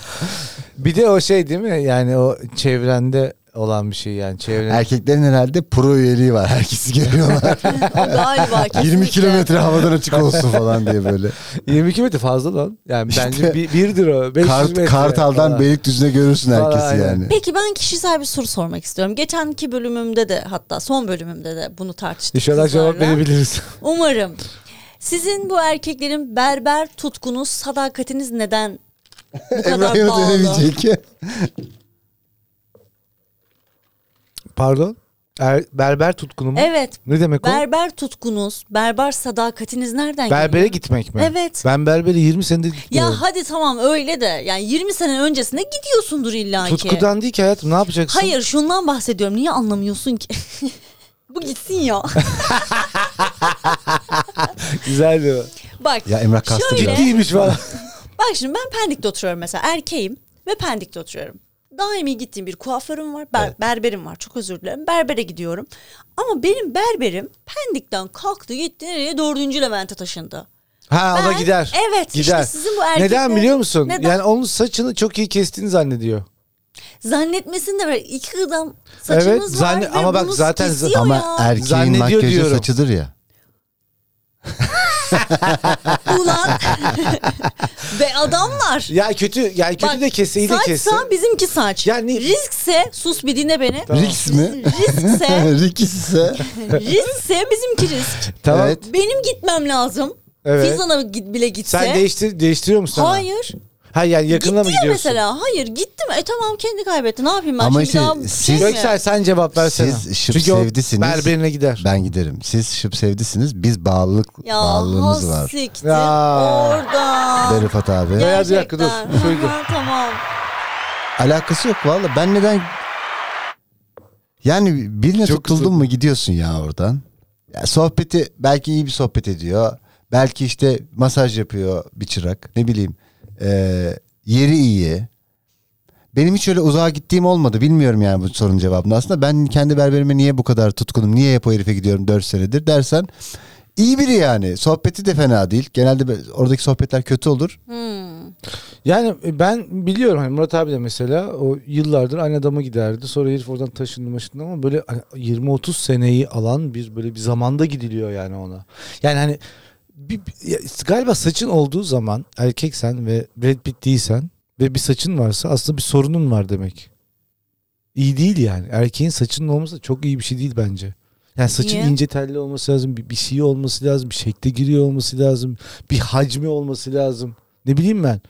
S1: Bir de o şey değil mi? Yani o çevrende olan bir şey yani çevren.
S2: Erkeklerin herhalde pro üyeliği var. Herkesi
S3: <laughs>
S2: geliyorlar.
S3: Galiba
S2: 20
S3: kesinlikle.
S2: kilometre havadan açık olsun falan diye böyle.
S1: 22 metre fazla lan. Yani
S2: İşte-
S1: bence bir, birdir o. 500
S2: Kart,
S1: metre
S2: Kartal'dan
S1: falan.
S2: Beylikdüzü'ne görürsün
S1: Falan,
S2: herkesi
S1: aynen.
S2: yani.
S3: Peki ben kişisel bir soru sormak istiyorum. Geçenki bölümümde de hatta son bölümümde de bunu tartıştık.
S1: İnşallah cevap
S3: kızlarla.
S1: verebiliriz. <laughs>
S3: Umarım. Sizin bu erkeklerin berber tutkunuz, sadakatiniz neden
S1: <laughs>
S3: bu kadar
S2: Emrah'ı
S3: pahalı?
S2: dönemeyecek.
S1: Pardon? Er, berber tutkunu mu?
S3: Evet.
S1: Ne demek o?
S3: Berber tutkunuz, berber sadakatiniz nereden geliyor?
S1: Berbere gitmek mi?
S3: Evet.
S1: Ben berbere 20 senedir gitmiyorum.
S3: Ya hadi tamam öyle de yani 20 sene öncesine gidiyorsundur illa ki.
S1: Tutkudan değil ki hayatım ne yapacaksın?
S3: Hayır şundan bahsediyorum. Niye anlamıyorsun ki? <laughs> bu gitsin
S1: <laughs>
S3: ya.
S1: Güzeldi o.
S3: Bak.
S2: Ya Emrah kastı
S3: Şöyle-
S2: biraz.
S1: Ciddiymiş falan.
S3: Bak şimdi ben Pendik'te oturuyorum mesela erkeğim ve Pendik'te oturuyorum. Daimi gittiğim bir kuaförüm var, ber- berberim var çok özür dilerim. Berbere gidiyorum. Ama benim berberim Pendik'ten kalktı gitti nereye? Dördüncü Levent'e taşındı.
S1: Ha o da
S3: Ben-
S1: gider.
S3: Evet, işte
S1: gider.
S3: sizin bu erkekler-
S1: Neden biliyor musun?
S3: Neden?
S1: Yani onun saçını çok iyi kestiğini zannediyor.
S3: Zannetmesin de böyle iki adam saçınız
S1: Evet, zanne-
S3: var ve
S1: ama bak
S3: bunu
S1: zaten- er-
S3: kesiyor
S2: Ama
S3: ya.
S2: erkeğin
S1: Zannediyor
S2: makyajı
S1: diyorum.
S2: saçıdır ya.
S1: <laughs>
S3: Ulan ve adamlar.
S1: Ya kötü yani kötü
S3: Bak,
S1: de kesse iyi de kesse.
S3: Saçsa bizimki saç.
S1: Yani-
S3: Riskse sus bir dinle beni.
S2: Riks mi?
S3: Riskse,
S2: <laughs> Riks ise
S3: riskse bizimki risk.
S1: Tamam.
S2: Evet.
S3: Benim gitmem lazım.
S1: Evet.
S3: Fizan'a git- bile gitse.
S1: Sen değiştir değiştiriyor musun? ama?
S3: Hayır.
S1: Ha yani yakınına
S3: Gitti
S1: mı
S3: ya
S1: gidiyorsun?
S3: mesela. Hayır gittim. E tamam kendi kaybetti. Ne yapayım ben
S2: Ama
S3: şimdi
S2: işte
S3: daha bir
S2: siz-
S3: şey mi?
S1: Göksel sen cevap versene.
S2: Siz şıp
S1: Çünkü o
S2: sevdisiniz.
S1: berberine gider.
S2: ben giderim. Siz şıp sevdisiniz. Biz bağlılık
S3: Ya
S2: bağlılığımız var.
S3: hassiktir.
S1: Ya.
S3: Orada.
S2: De Rıfat abi.
S1: Ya- Beyaz yakı, dur.
S3: Gerçekten.
S1: Şuydu.
S3: Ha, tamam.
S2: Alakası yok valla. Ben neden... Yani birine
S1: Çok
S2: tutuldun
S1: üzüldüm.
S2: mu gidiyorsun ya oradan. Ya sohbeti belki iyi bir sohbet ediyor. Belki işte masaj yapıyor bir çırak. Ne bileyim. Ee, yeri iyi. Benim hiç öyle uzağa gittiğim olmadı. Bilmiyorum yani bu sorunun cevabını. Aslında ben kendi berberime niye bu kadar tutkunum? Niye hep o herife gidiyorum 4 senedir dersen iyi biri yani. Sohbeti de fena değil. Genelde be- oradaki sohbetler kötü olur.
S1: Yani e, ben biliyorum hani Murat abi de mesela o yıllardır aynı adama giderdi. Sonra herif oradan taşındı maşındı ama böyle hani 20-30 seneyi alan bir böyle bir zamanda gidiliyor yani ona. Yani hani bir, bir- ya galiba saçın olduğu zaman erkeksen ve Brad Pitt değilsen ve bir saçın varsa aslında bir sorunun var demek. İyi değil yani. Erkeğin saçının olması çok iyi bir şey değil bence. Yani saçın
S3: Niye?
S1: ince telli olması lazım, bir, bir şey olması lazım, bir şekle giriyor olması lazım, bir hacmi olması lazım. Ne bileyim ben.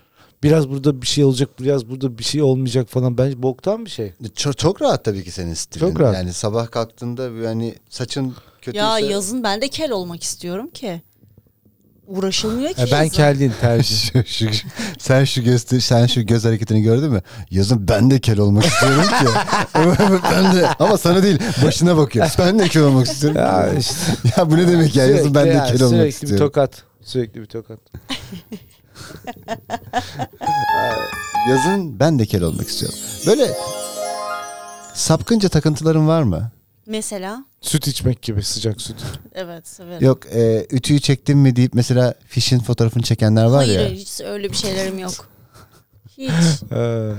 S1: Biraz burada bir şey olacak, biraz burada bir şey olmayacak falan. Bence boktan bir şey.
S2: Çok, çok rahat tabii ki senin stilin.
S1: Çok rahat.
S2: Yani sabah kalktığında yani saçın kötüyse...
S3: Ya yazın ben de kel olmak istiyorum ki. Uğraşılmıyor ki
S1: Ya E, ben
S3: yazın.
S1: keldiğin <laughs> tercih.
S2: <laughs> Şu- şu- sen şu göz sen şu göz hareketini gördün mü? Yazın ben de kel olmak istiyorum ki. <laughs> ben de ama sana değil başına bakıyor. Ben de kel olmak istiyorum.
S1: ya
S2: Ya,
S1: işte.
S2: bu ne demek ya? Yazın ben de
S1: yani
S2: kel olmak
S1: Sürekli bir
S2: istiyorum.
S1: tokat. Sürekli bir tokat.
S2: Yazın ben de kel olmak istiyorum. Böyle sapkınca takıntıların var mı?
S3: Mesela.
S1: Süt içmek gibi sıcak süt.
S3: Evet severim.
S2: Yok e, ütüyü çektim mi deyip mesela fişin fotoğrafını çekenler var
S3: Hayır
S2: ya.
S3: hiç öyle bir şeylerim yok. Hiç.
S1: <laughs> Ee,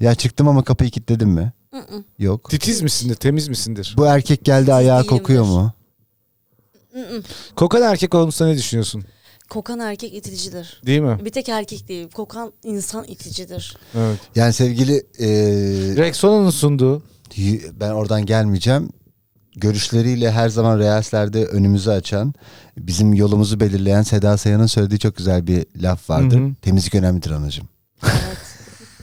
S2: Ya çıktım ama kapıyı kilitledim mi?
S3: Mm-mm.
S2: Yok.
S1: titiz misindir, temiz misindir?
S2: Bu erkek geldi ayağı kokuyor
S3: değilimdir.
S2: mu?
S3: Mm-mm.
S1: Kokan erkek konusunda ne düşünüyorsun?
S3: Kokan erkek iticidir.
S1: Değil mi?
S3: Bir tek erkek değil. Kokan insan iticidir.
S1: Evet.
S2: Yani sevgili e,
S1: Rexona'nın sunduğu
S2: Y- ben oradan gelmeyeceğim. Görüşleriyle her zaman reaslerde önümüzü açan, bizim yolumuzu belirleyen Seda Sayan'ın söylediği çok güzel bir laf vardır.
S1: Hı hı.
S2: Temizlik önemlidir anacığım. <laughs>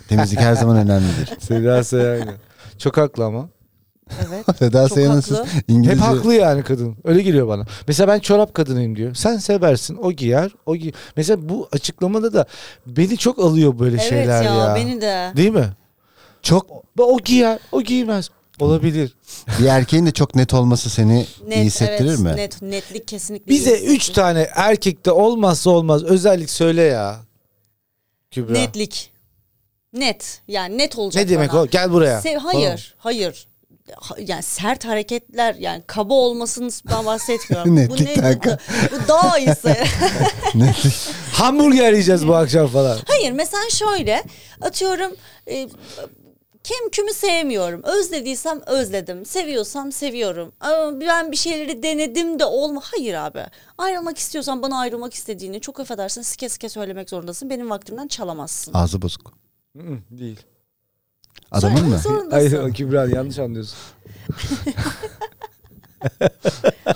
S2: Temizlik her zaman önemlidir.
S1: Seda Sayan. Çok haklı ama.
S3: Evet.
S2: Seda
S3: Çok
S2: Sayan'ın
S3: haklı.
S2: siz İngilizce...
S1: Hep haklı yani kadın. Öyle geliyor bana. Mesela ben çorap kadınıyım diyor. Sen seversin. O giyer. O giy. Mesela bu açıklamada da beni çok alıyor böyle
S3: evet
S1: şeyler
S3: ya,
S1: ya.
S3: beni de.
S1: Değil mi?
S2: Çok
S1: O, o giyer. O giymez. Olabilir.
S2: Bir erkeğin de çok net olması seni iyi hissettirir
S3: evet,
S2: mi?
S3: Net, netlik kesinlikle. iyi
S1: Bize üç
S3: hissettirir.
S1: tane erkekte olmazsa olmaz özellik söyle ya. Kübra.
S3: Netlik. Net. Yani net olacak
S1: ne demek
S3: bana.
S1: o? Gel buraya.
S3: Se- hayır, hayır. Ha- Yani sert hareketler yani kaba
S1: <laughs>
S3: olmasından bahsetmiyorum. bu
S2: Netlik
S3: ne?
S2: kanka.
S3: Bu daha iyisi.
S1: Falan.
S2: Net-
S1: Hamburger yiyeceğiz bu akşam falan.
S3: hayır mesela şöyle atıyorum e, kim kimi sevmiyorum. Özlediysem özledim. Seviyorsam seviyorum. Ama ben bir şeyleri denedim de olma. Hayır abi. Ayrılmak istiyorsan bana ayrılmak istediğini çok affedersin sike sike söylemek zorundasın. Benim vaktimden çalamazsın.
S2: Ağzı bozuk.
S1: Hı, Değil.
S2: Adamın
S3: Söylemek
S2: mı?
S1: Hayır
S3: zorundasın.
S1: o <laughs> Kübra yanlış anlıyorsun.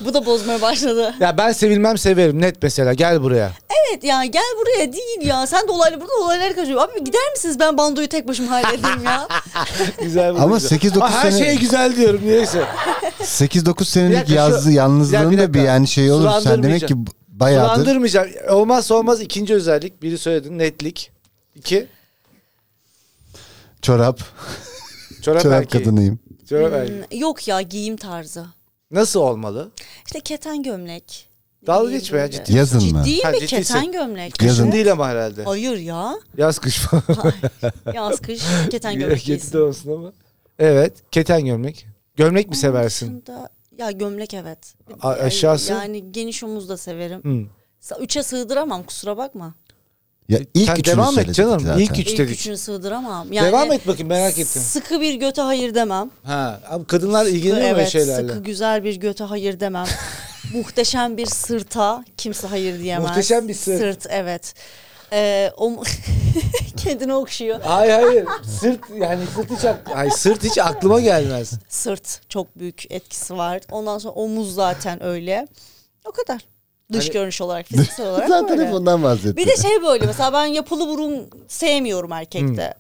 S3: Bu da bozmaya başladı.
S1: Ya ben sevilmem severim net mesela gel buraya.
S3: Evet ya gel buraya değil ya. Sen dolaylı burada olaylar kaçıyor. Abi gider misiniz ben bandoyu tek başıma halledeyim ya.
S1: Güzel bu
S2: Ama
S1: güzel.
S2: 8-9
S1: Aa, Her
S2: sene-
S1: şey güzel diyorum neyse.
S2: 8-9
S1: Bir
S2: senelik
S1: dakika,
S2: yazdı
S1: şu-
S2: yalnızlığın
S1: bir
S2: da bir
S1: dakika.
S2: yani şey olur. Sen demek ki
S1: Sulandırmayacağım.
S2: bayağıdır
S1: Sulandırmayacağım. Olmazsa olmaz ikinci özellik. Biri söyledin netlik. İki
S2: çorap,
S1: çorap,
S2: çorap
S1: erkeği.
S2: kadınıyım.
S1: Çorap erkeği.
S3: Yok ya giyim tarzı.
S1: Nasıl olmalı?
S3: İşte keten gömlek.
S1: Dalga
S3: Giyim
S1: geçme ya,
S3: böyle.
S1: ciddi.
S2: Yazın mı?
S3: Ciddiyim
S1: Ha,
S3: mi?
S1: ciddiysin.
S3: Keten gömlek.
S2: Yazın.
S1: Kışın değil ama herhalde.
S3: Hayır ya.
S1: Yaz
S3: <laughs>
S1: kış falan.
S3: Yaz
S1: <laughs>
S3: kış keten gömlek
S1: Kötü de
S3: giysin.
S1: olsun ama. Evet. Keten gömlek. Gömlek mi seversin?
S3: Dışında- Ya gömlek evet.
S1: A- aşağısı?
S3: Yani geniş omuz da severim.
S1: Hı.
S3: Sa- Üçe sığdıramam kusura bakma.
S2: Ya ilk
S1: Sen
S2: üçünü
S1: devam et canım.
S2: söyledik
S1: İlk
S2: zaten.
S1: üç
S3: İlk
S1: dedik.
S3: üçünü sığdıramam. Yani
S1: Devam et bakayım merak ettim.
S3: Sıkı bir göte hayır demem.
S1: Ha, abi kadınlar
S3: Sıkı,
S1: ilgileniyor mu
S3: evet
S1: şeylerle?
S3: sıkı güzel bir göte
S1: <laughs>
S3: hayır demem. Muhteşem bir sırta kimse hayır diyemez.
S1: Muhteşem bir sırt.
S3: Sırt evet. Ee, o <laughs> kendini okşuyor.
S1: Hayır hayır. Sırt yani sırt hiç, ak- Ay, sırt hiç aklıma gelmez.
S3: Sırt çok büyük etkisi var. Ondan sonra omuz zaten öyle. O kadar. Dış
S1: Hani-
S3: görünüş olarak, fiziksel olarak
S2: Zaten
S3: böyle.
S2: hep ondan bahsettik.
S3: Bir de şey böyle mesela ben yapılı burun sevmiyorum erkekte.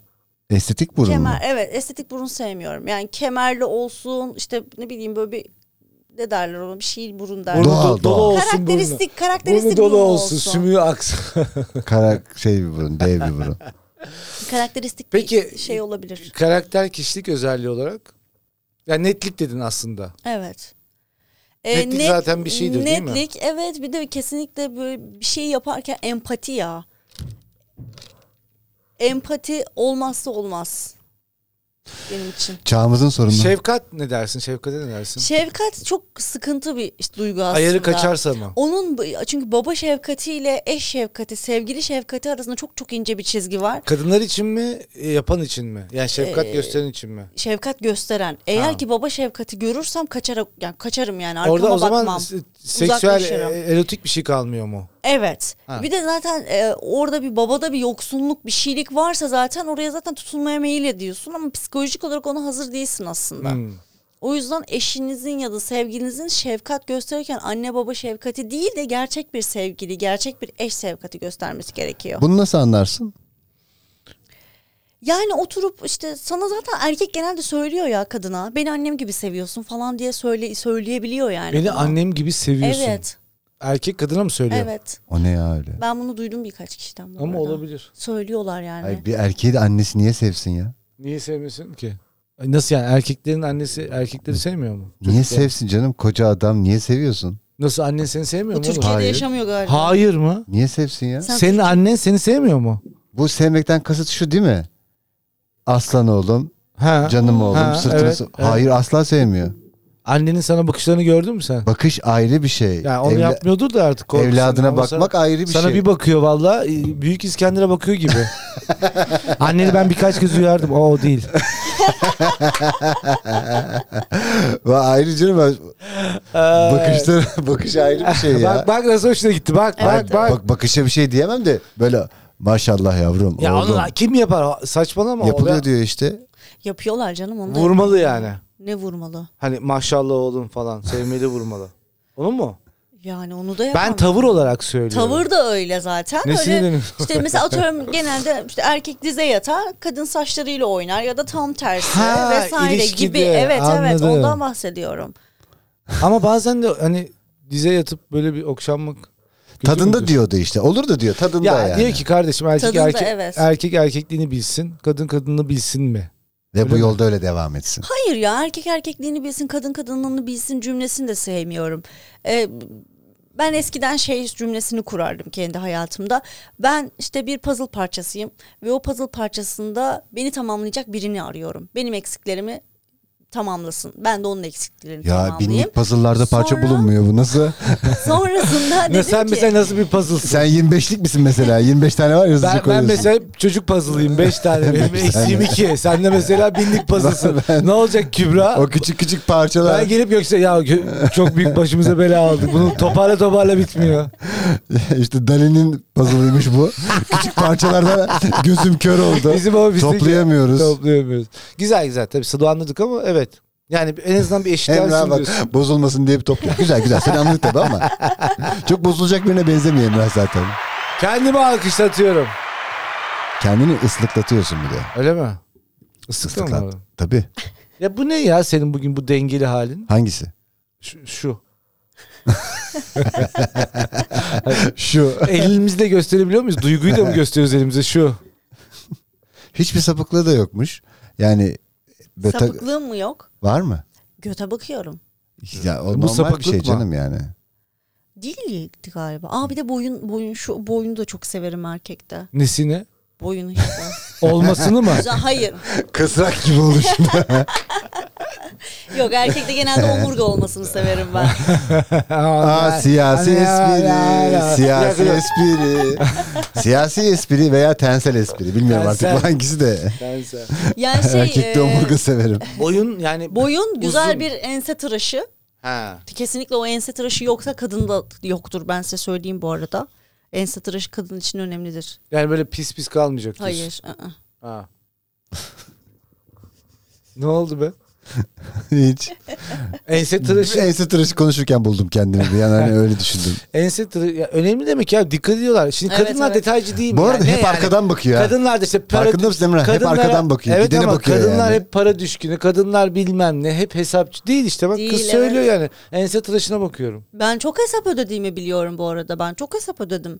S2: Estetik burun mu?
S3: Kemer evet estetik burun sevmiyorum. Yani kemerli olsun işte ne bileyim böyle bir ne derler ona bir şey burun derler.
S2: Doğal,
S1: Burnu do- dolu
S2: doğal.
S1: olsun
S3: karakteristik
S1: burnu.
S3: karakteristik
S1: Burnu dolu
S3: burun
S1: olsun, sümüğü aksın.
S2: Kara şey bir burun, dev bir
S1: <laughs>
S2: burun.
S3: Karakteristik
S1: Peki-
S3: bir şey olabilir.
S1: <laughs> Karakter kişilik özelliği olarak. Yani netlik dedin aslında.
S3: Evet. E,
S1: Netlik zaten bir şeydir, değil mi?
S3: Netlik evet bir de kesinlikle böyle bir şey yaparken empati ya. Empati olmazsa olmaz benim için.
S2: Çağımızın sorunu.
S1: Şefkat ne dersin? Şefkate ne dersin?
S3: Şefkat çok sıkıntı bir işte duygu aslında.
S1: Ayarı kaçarsa mı?
S3: Onun bu- çünkü baba şefkatiyle eş şefkati, sevgili şefkati arasında çok çok ince bir çizgi var.
S1: Kadınlar için mi, e, yapan için mi? Yani şefkat
S3: Ee,
S1: gösteren için mi?
S3: Şefkat gösteren. Eğer
S1: Ha.
S3: ki baba şefkati görürsem kaçarak yani kaçarım yani arkama
S1: Orada o zaman
S3: bakmam.
S1: se- seksüel
S3: Uzaklaşırım.
S1: e, erotik bir şey kalmıyor mu?
S3: Evet.
S1: Ha.
S3: Bir de zaten e, orada bir babada bir yoksunluk, bir şeylik varsa zaten oraya zaten tutunmaya meyil ediyorsun ama psikolojik olarak ona hazır değilsin aslında.
S1: Hmm.
S3: O yüzden eşinizin ya da sevgilinizin şefkat gösterirken anne baba şefkati değil de gerçek bir sevgili, gerçek bir eş şefkati göstermesi gerekiyor.
S2: Bunu nasıl anlarsın?
S3: Yani oturup işte sana zaten erkek genelde söylüyor ya kadına. Beni annem gibi seviyorsun falan diye söyle söyleyebiliyor yani.
S1: Beni
S3: bunu.
S1: annem gibi seviyorsun.
S3: Evet.
S1: Erkek kadına mı söylüyor?
S3: Evet.
S2: O ne ya öyle?
S3: Ben bunu duydum birkaç kişiden bu
S1: Ama
S3: arada.
S1: olabilir.
S3: Söylüyorlar yani.
S2: Ay, bir erkeği de annesi niye sevsin ya?
S1: Niye sevmiyorsun ki? Ay, Nasıl yani erkeklerin annesi erkekleri sevmiyor mu?
S2: Niye sevsin canım? Koca adam niye seviyorsun?
S1: Nasıl annen seni sevmiyor
S3: Bu
S1: mu? oğlum?
S3: Türkiye'de
S2: Hayır.
S3: yaşamıyor galiba.
S1: Hayır mı?
S2: Niye sevsin ya?
S3: Sen-
S1: Senin annen seni sevmiyor mu?
S2: Bu sevmekten kasıt şu değil mi? Aslan oğlum,
S1: Ha.
S2: canım oğlum,
S1: Ha,
S2: sırtını...
S1: evet,
S2: so-
S1: evet.
S2: Hayır asla sevmiyor.
S1: Annenin sana bakışlarını gördün mü sen?
S2: Bakış ayrı bir şey.
S1: Yani onu
S2: Evla-
S1: yapmıyordur da artık korkusun.
S2: Evladına
S1: Ama
S2: bakmak
S1: sana,
S2: ayrı bir
S1: Sana
S2: şey.
S1: bir bakıyor valla e, Büyük İskender'e bakıyor
S2: <laughs>
S1: gibi. Anneni ben birkaç kez uyardım. O, o değil.
S2: Ve ayrı canım. Bakışlar, <laughs> bakış ayrı bir şey ya.
S1: Ee, <laughs> Bak bak nasıl hoşuna gitti. Bak
S2: Hayır,
S1: bak bak.
S2: bak- bakışa bir şey diyemem de böyle maşallah yavrum.
S1: Ya
S2: oğlum,
S1: onu kim yapar? Saçmalama.
S2: yapılıyor
S1: Yapılıyor
S2: diyor işte.
S3: Yapıyorlar canım onu. da
S1: Vurmalı
S3: yapıyorlar.
S1: yani.
S3: Ne vurmalı?
S1: Hani maşallah oğlum falan. Sevmeli vurmalı.
S3: <laughs>
S1: Onu mu?
S3: Yani onu da yapamam.
S1: Ben tavır olarak söylüyorum.
S3: Tavır da öyle zaten.
S1: Ne
S3: öyle
S1: sinirleniyorsun?
S3: işte mesela atıyorum genelde işte erkek dize yatar, kadın saçlarıyla oynar ya da tam tersi
S1: Ha,
S3: vesaire
S1: ilişkide,
S3: gibi. Evet evet
S1: anladım.
S3: ondan bahsediyorum.
S1: <laughs> Ama bazen de hani dize yatıp böyle bir okşanmak. kötü
S2: Tadında
S1: müdür?
S2: diyordu işte. Olur da diyor tadında
S1: Ya
S2: yani.
S1: diyor ki kardeşim erkek
S3: Tadında,
S1: erkek,
S3: evet.
S1: erkek erkekliğini bilsin, kadın kadını bilsin mi?
S2: Ve bu yolda öyle devam etsin.
S3: Hayır ya erkek erkekliğini bilsin kadın kadınlığını bilsin cümlesini de sevmiyorum. Ee, ben eskiden şey cümlesini kurardım kendi hayatımda. Ben işte bir puzzle parçasıyım ve o puzzle parçasında beni tamamlayacak birini arıyorum. Benim eksiklerimi tamamlasın. Ben de onun eksiklerini
S2: Ya
S1: <laughs>
S3: tamamlayayım.
S2: binlik puzzle'larda parça
S3: Sonra-
S2: bulunmuyor bu nasıl?
S3: Sonrasında dedim
S1: Ne sen
S3: ki
S1: mesela nasıl bir puzzle'sın?
S2: Sen 25'lik misin mesela? 25 tane var ya hızlıca
S1: <laughs> Ben, ben
S2: koyuyorsun.
S1: mesela çocuk <laughs> puzzle'ıyım. Beş tane benim eksiğim iki. Sen de mesela <laughs> binlik puzzle'sın. ne olacak Kübra?
S2: O küçük küçük parçalar.
S1: Ben
S2: <laughs>
S1: gelip yoksa ya gö- çok büyük başımıza bela aldık. Bunu toparla toparla bitmiyor.
S2: işte Dali'nin puzzle'ıymış bu. küçük parçalardan
S1: <laughs>
S2: gözüm kör oldu.
S1: Bizim o bizdeki-
S2: Toplayamıyoruz.
S1: Toplayamıyoruz. Güzel güzel tabii sıdı anladık ama evet. Yani en azından bir eşit
S2: Emrah
S1: olsun
S2: bak
S1: diyorsun.
S2: bozulmasın diye bir topluyor. Güzel güzel seni anladık
S1: <laughs>
S2: tabii ama. Çok bozulacak birine benzemiyor Emrah zaten.
S1: Kendimi alkışlatıyorum.
S2: Kendini ıslıklatıyorsun bir de.
S1: Öyle mi? Islıktın mı?
S2: Islıklat. Tabii.
S1: Ya bu ne ya senin bugün bu dengeli halin?
S2: Hangisi?
S1: Şu. şu. <laughs>
S2: Şu.
S1: Elimizle gösterebiliyor muyuz? Duyguyu da mı gösteriyoruz elimize? Şu.
S2: Hiçbir sapıklığı da yokmuş. Yani böyle ta-
S3: sapıklığım mı yok?
S2: var mı?
S3: Göte bakıyorum.
S2: Ya o
S1: Bu
S2: normal bir
S1: sapıklık
S2: şey
S1: mı? <laughs>
S2: canım yani.
S3: Değildi galiba. Aa bir de boyun boyun şu boyunu da çok severim erkekte.
S1: Nesini?
S3: Boyunu işte.
S1: <laughs> Olmasını
S3: <laughs>
S1: mı?
S3: Güzel, hayır.
S2: Kısrak gibi olur şimdi.
S3: Yok erkekte genelde omurga olmasını severim ben.
S2: Aa,
S1: hani
S2: siyasi espri, siyasi
S1: Yakala-
S2: espri.
S1: <laughs>
S2: Siyasi espri veya tensel espri. Bilmiyorum artık bu
S1: Tensel.
S2: hangisi de.
S1: Bense.
S3: Yani şey
S2: Erkekte
S3: e,
S2: omurga severim. <laughs>
S1: Boyun yani
S3: boyun güzel
S1: Uzun.
S3: bir ense tıraşı.
S1: ha.
S3: Kesinlikle o ense tıraşı yoksa kadında yoktur ben size söyleyeyim bu arada. Ense tıraşı kadın için önemlidir.
S1: Yani böyle pis pis kalmayacak diyorsun.
S3: Hayır. ı-ı.
S1: Ha. ne oldu be?
S2: Hiç.
S1: Ense tıraşı.
S2: Ense tıraşı konuşurken buldum kendimi. Bir yani
S1: <laughs>
S2: hani öyle düşündüm.
S1: Ense tıraşı. ya önemli demek ya dikkat ediyorlar. Şimdi
S3: Evet,
S1: kadınlar
S3: evet.
S1: detaycı değil mi?
S2: Bu arada
S1: Yani ne
S2: hep
S1: yani?
S2: arkadan bakıyor. ha.
S1: Kadınlar da işte para...
S2: Farkında mısın Emrah? Hep
S1: kadınlara-
S2: arkadan bakıyor.
S1: Evet
S2: Gidene
S1: ama
S2: bakıyor
S1: kadınlar
S2: yani.
S1: hep para düşkünü. Kadınlar bilmem ne. Hep hesapçı. Değil işte bak
S3: Değil,
S1: kız
S3: evet.
S1: söylüyor yani. Ense tıraşına bakıyorum.
S3: Ben çok hesap ödediğimi biliyorum bu arada. Ben çok hesap ödedim.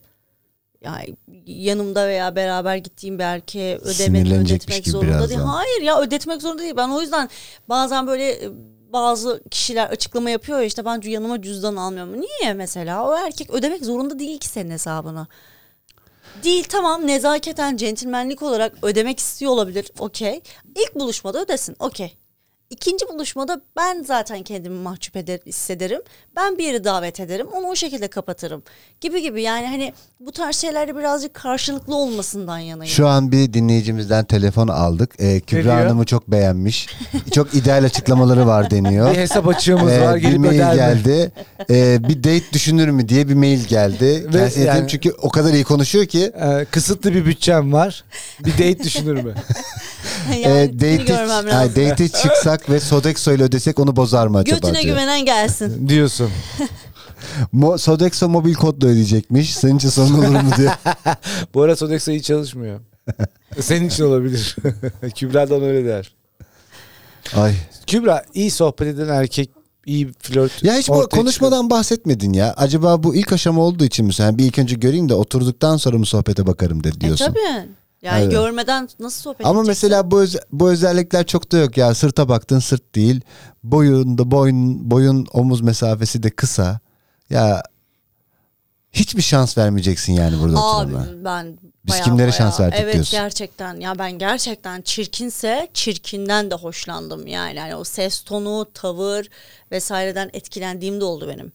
S3: Yani yanımda veya beraber gittiğim bir erkeğe ödemek,
S2: Sinirlenecekmiş
S3: ödetmek
S2: gibi
S3: zorunda değil.
S2: birazdan.
S3: Hayır ya ödetmek zorunda değil. Ben o yüzden bazen böyle e, bazı kişiler açıklama yapıyor ya, işte ben cü- yanıma cüzdan almıyorum. Niye mesela? O erkek ödemek zorunda değil ki senin hesabına. Değil tamam nezaketen centilmenlik olarak ödemek istiyor olabilir. Okey. İlk buluşmada ödesin. Okey. İkinci buluşmada ben zaten kendimi mahcup eder, hissederim. Ben bir yere davet ederim. Onu o şekilde kapatırım. Gibi gibi yani hani bu tarz şeylerde birazcık karşılıklı olmasından yanayım.
S2: Şu an bir dinleyicimizden telefon aldık. Ee, Kübra
S1: diyor?
S2: Hanım'ı çok beğenmiş. Çok ideal açıklamaları var
S1: <laughs>
S2: deniyor.
S1: Bir hesap açığımız
S2: Ee,
S1: var.
S2: bir
S1: Gelip
S2: mail
S1: öder mi?
S2: geldi. Ee, bir date düşünür mü diye bir mail geldi.
S1: Ve
S2: Kendisine dedim
S1: yani-
S2: çünkü o kadar iyi konuşuyor ki.
S1: Ee, kısıtlı bir bütçem var. Bir date düşünür
S2: <laughs>
S1: mü?
S3: <laughs> yani
S2: e,
S3: tipini
S2: date,
S3: görmem
S2: ay,
S3: lazım.
S2: date'e çıksak ve Sodexo ile ödesek onu bozar mı acaba
S3: Götüne
S2: diyor.
S3: güvenen gelsin.
S1: Diyorsun.
S2: Mo- Sodexo mobil kodla ödeyecekmiş. Senin için sorun olur mu
S1: <laughs>
S2: diyor.
S1: Bu ara Sodexo iyi çalışmıyor. Senin için olabilir. <laughs> Kübra'dan öyle der.
S2: Ay.
S1: Kübra iyi sohbet eden erkek iyi flört.
S2: Ya hiç bu
S1: ortaya
S2: konuşmadan bahsetmedin ya. Acaba bu ilk aşama olduğu için mi? Yani bir ilk önce göreyim de oturduktan sonra mı sohbete bakarım dedi
S3: E
S2: diyorsun.
S3: tabii. Yani
S2: Evet.
S3: görmeden nasıl sohbet
S2: Ama
S3: edeceksin?
S2: mesela bu öz- bu özellikler çok da yok ya. Sırta baktın sırt değil. Boyunda boyun boyun omuz mesafesi de kısa. Ya hiçbir şans vermeyeceksin yani burada
S3: Abi
S2: oturmama.
S3: ben
S2: Biz
S3: baya
S2: kimlere
S3: baya-
S2: şans verdik
S3: evet,
S2: diyorsun.
S3: gerçekten ya ben gerçekten çirkinse çirkinden de hoşlandım yani. yani o ses tonu, tavır vesaireden etkilendiğim de oldu benim.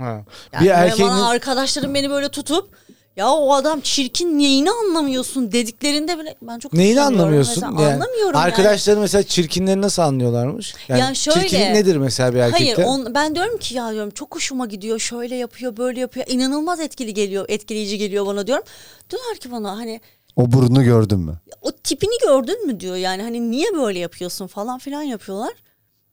S1: Ha.
S3: Yani
S1: bir
S3: böyle
S1: erkeğin
S3: bana arkadaşlarım beni böyle tutup ya o adam çirkin neyini anlamıyorsun dediklerinde bile ben çok
S1: neyini
S3: hoşlanıyorum.
S1: anlamıyorsun?
S3: Mesela anlamıyorum yani.
S1: Arkadaşları mesela çirkinleri nasıl anlıyorlarmış? Yani,
S3: Yani şöyle-
S1: çirkinlik nedir mesela bir erkekte?
S3: Hayır on, ben diyorum ki ya diyorum çok hoşuma gidiyor şöyle yapıyor böyle yapıyor inanılmaz etkili geliyor etkileyici geliyor bana diyorum. Diyorlar ki bana hani
S2: O burnu gördün mü?
S3: o tipini gördün mü diyor yani hani niye böyle yapıyorsun falan filan yapıyorlar.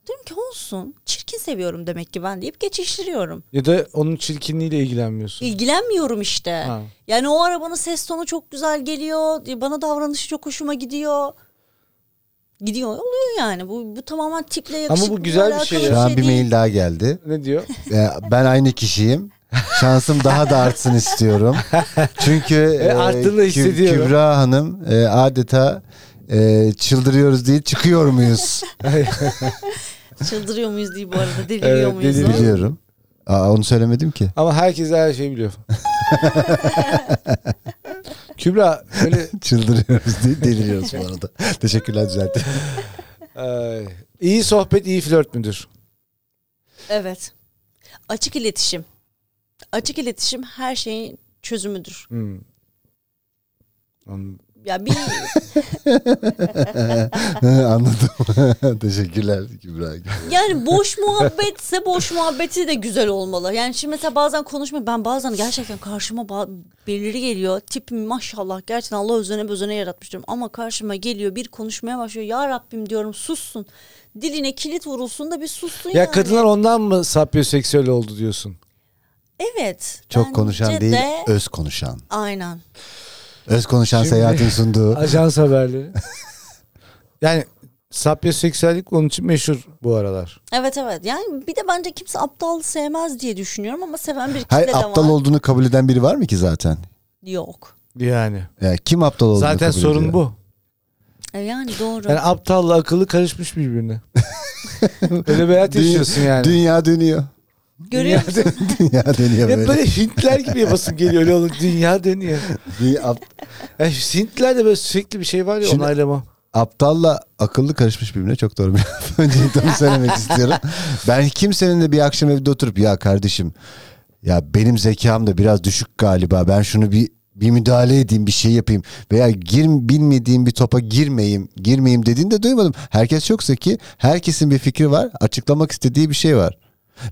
S3: Diyorum ki olsun çirkin seviyorum demek ki ben deyip geçiştiriyorum.
S1: Ya da onun çirkinliğiyle ilgilenmiyorsun.
S3: İlgilenmiyorum işte.
S1: Ha.
S3: Yani o arabanın ses tonu çok güzel geliyor. Bana davranışı çok hoşuma gidiyor. Gidiyor oluyor yani. Bu, bu tamamen tiple yakışıklı
S1: güzel bir şey ya.
S2: Şu an bir mail daha geldi.
S1: ne
S3: <laughs>
S1: diyor?
S2: Ee, ben aynı kişiyim. Şansım daha da artsın istiyorum. Çünkü
S1: E,
S2: e,
S1: arttığını da
S2: Kü-
S1: hissediyorum.
S2: Kübra Hanım e, adeta e, çıldırıyoruz değil çıkıyor muyuz?
S3: Çıldırıyor muyuz diye bu arada deliriyor
S1: Evet,
S3: muyuz?
S1: deliriyor.
S3: Deliriyor.
S2: Biliyorum. Aa, onu söylemedim ki.
S1: Ama herkes her şeyi biliyor. <laughs> Kübra böyle
S2: Çıldırıyoruz değil deliriyoruz bu arada.
S1: <laughs>
S2: Teşekkürler düzelttin.
S1: Ay, e, iyi sohbet iyi flört müdür?
S3: Evet. Açık iletişim. Açık iletişim her şeyin çözümüdür.
S1: Hmm. Anladım.
S3: Ya bir
S2: <laughs> Anladım. <laughs> Teşekkürler Kübra.
S3: yani boş muhabbetse boş muhabbeti de güzel olmalı. Yani şimdi mesela bazen konuşma ben bazen gerçekten karşıma ba- birileri geliyor. Tipim maşallah gerçekten Allah özene bözene yaratmış diyorum. Ama karşıma geliyor bir konuşmaya başlıyor. Ya Rabbim diyorum sussun. Diline kilit vurulsun da bir sussun
S1: Ya
S3: yani.
S1: kadınlar ondan mı sapyoseksüel oldu diyorsun?
S3: Evet.
S2: Çok konuşan
S3: bence
S2: değil
S3: de-
S2: öz konuşan.
S3: Aynen.
S2: Öz konuşan
S1: Şimdi-
S2: seyahatin sunduğu.
S1: Ajans haberleri. yani sapyoseksüellik onun için meşhur bu aralar.
S3: Evet evet. Yani bir de bence kimse aptal sevmez diye düşünüyorum ama seven bir kitle
S2: Hayır
S3: de
S2: aptal
S3: var.
S2: olduğunu kabul eden biri var mı ki zaten?
S3: Yok.
S1: Yani.
S2: Yani kim aptal olduğunu
S1: Zaten
S2: kabul
S1: sorun
S2: ediyor?
S1: bu.
S3: E yani doğru.
S1: Yani aptalla akıllı karışmış <laughs> birbirine. Öyle bir hayat
S2: Dünya-
S1: yaşıyorsun yani.
S2: Dünya dönüyor. <laughs>
S3: Görüyor musun?
S2: dünya dönüyor
S1: Ya
S2: böyle.
S1: böyle Hintler gibi yapasın geliyor öyle olunca dünya <laughs> dönüyor.
S2: Bir ap-
S1: Yani şu Hintlerde böyle sürekli bir şey var ya
S2: Şimdi-
S1: onaylama.
S2: aptalla akıllı karışmış birbirine çok doğru bir laf. <laughs> Öncelikle onu söylemek istiyorum. Ben kimsenin de bir akşam evde oturup ya kardeşim ya benim zekam da biraz düşük galiba. Ben şunu bir bir müdahale edeyim bir şey yapayım veya gir, bilmediğim bir topa girmeyeyim girmeyeyim dediğini de duymadım. Herkes çok zeki herkesin bir fikri var açıklamak istediği bir şey var.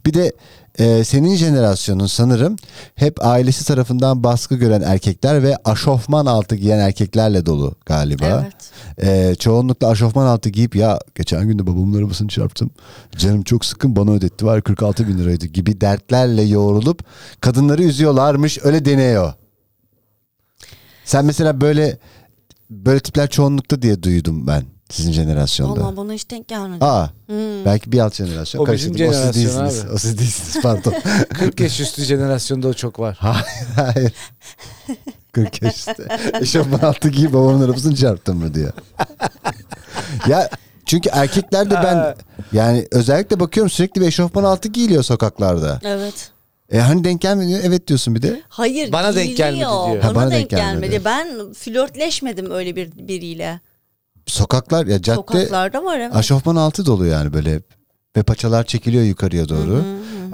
S2: Bir de e, senin jenerasyonun sanırım hep ailesi tarafından baskı gören erkekler ve aşofman altı giyen erkeklerle dolu galiba.
S3: Evet.
S2: Ee, çoğunlukla aşofman altı giyip ya geçen gün de babamın arabasını çarptım. Canım çok sıkın bana ödetti var 46 bin liraydı gibi dertlerle yoğrulup kadınları üzüyorlarmış öyle deniyor. Sen mesela böyle böyle tipler çoğunlukta diye duydum ben sizin jenerasyonda.
S3: Vallahi bana hiç denk gelmedi.
S2: Aa belki bir alt jenerasyon.
S1: O bizim
S2: karıştırdım. o
S1: jenerasyon
S2: siz değilsiniz.
S1: abi.
S2: O siz
S1: <laughs>
S2: değilsiniz pardon.
S1: 40 yaş üstü jenerasyonda o çok var.
S2: hayır hayır. 40 yaşta. Eşofman altı giyip babamın arabasını çarptım mı diyor. ya çünkü erkekler de ben yani özellikle bakıyorum sürekli bir eşofman altı giyiliyor sokaklarda.
S3: Evet.
S2: E hani denk gelmiyor evet diyorsun bir de.
S3: Hayır
S1: Bana denk
S3: giyiliyor.
S1: gelmedi diyor.
S3: Bana,
S2: Ha, bana
S3: denk,
S2: denk
S3: gelmedi.
S2: gelmedi.
S3: Ben flörtleşmedim öyle bir biriyle.
S2: Sokaklar ya cadde
S3: Sokaklarda var evet.
S2: eşofman altı dolu yani böyle hep. Ve paçalar çekiliyor yukarıya doğru.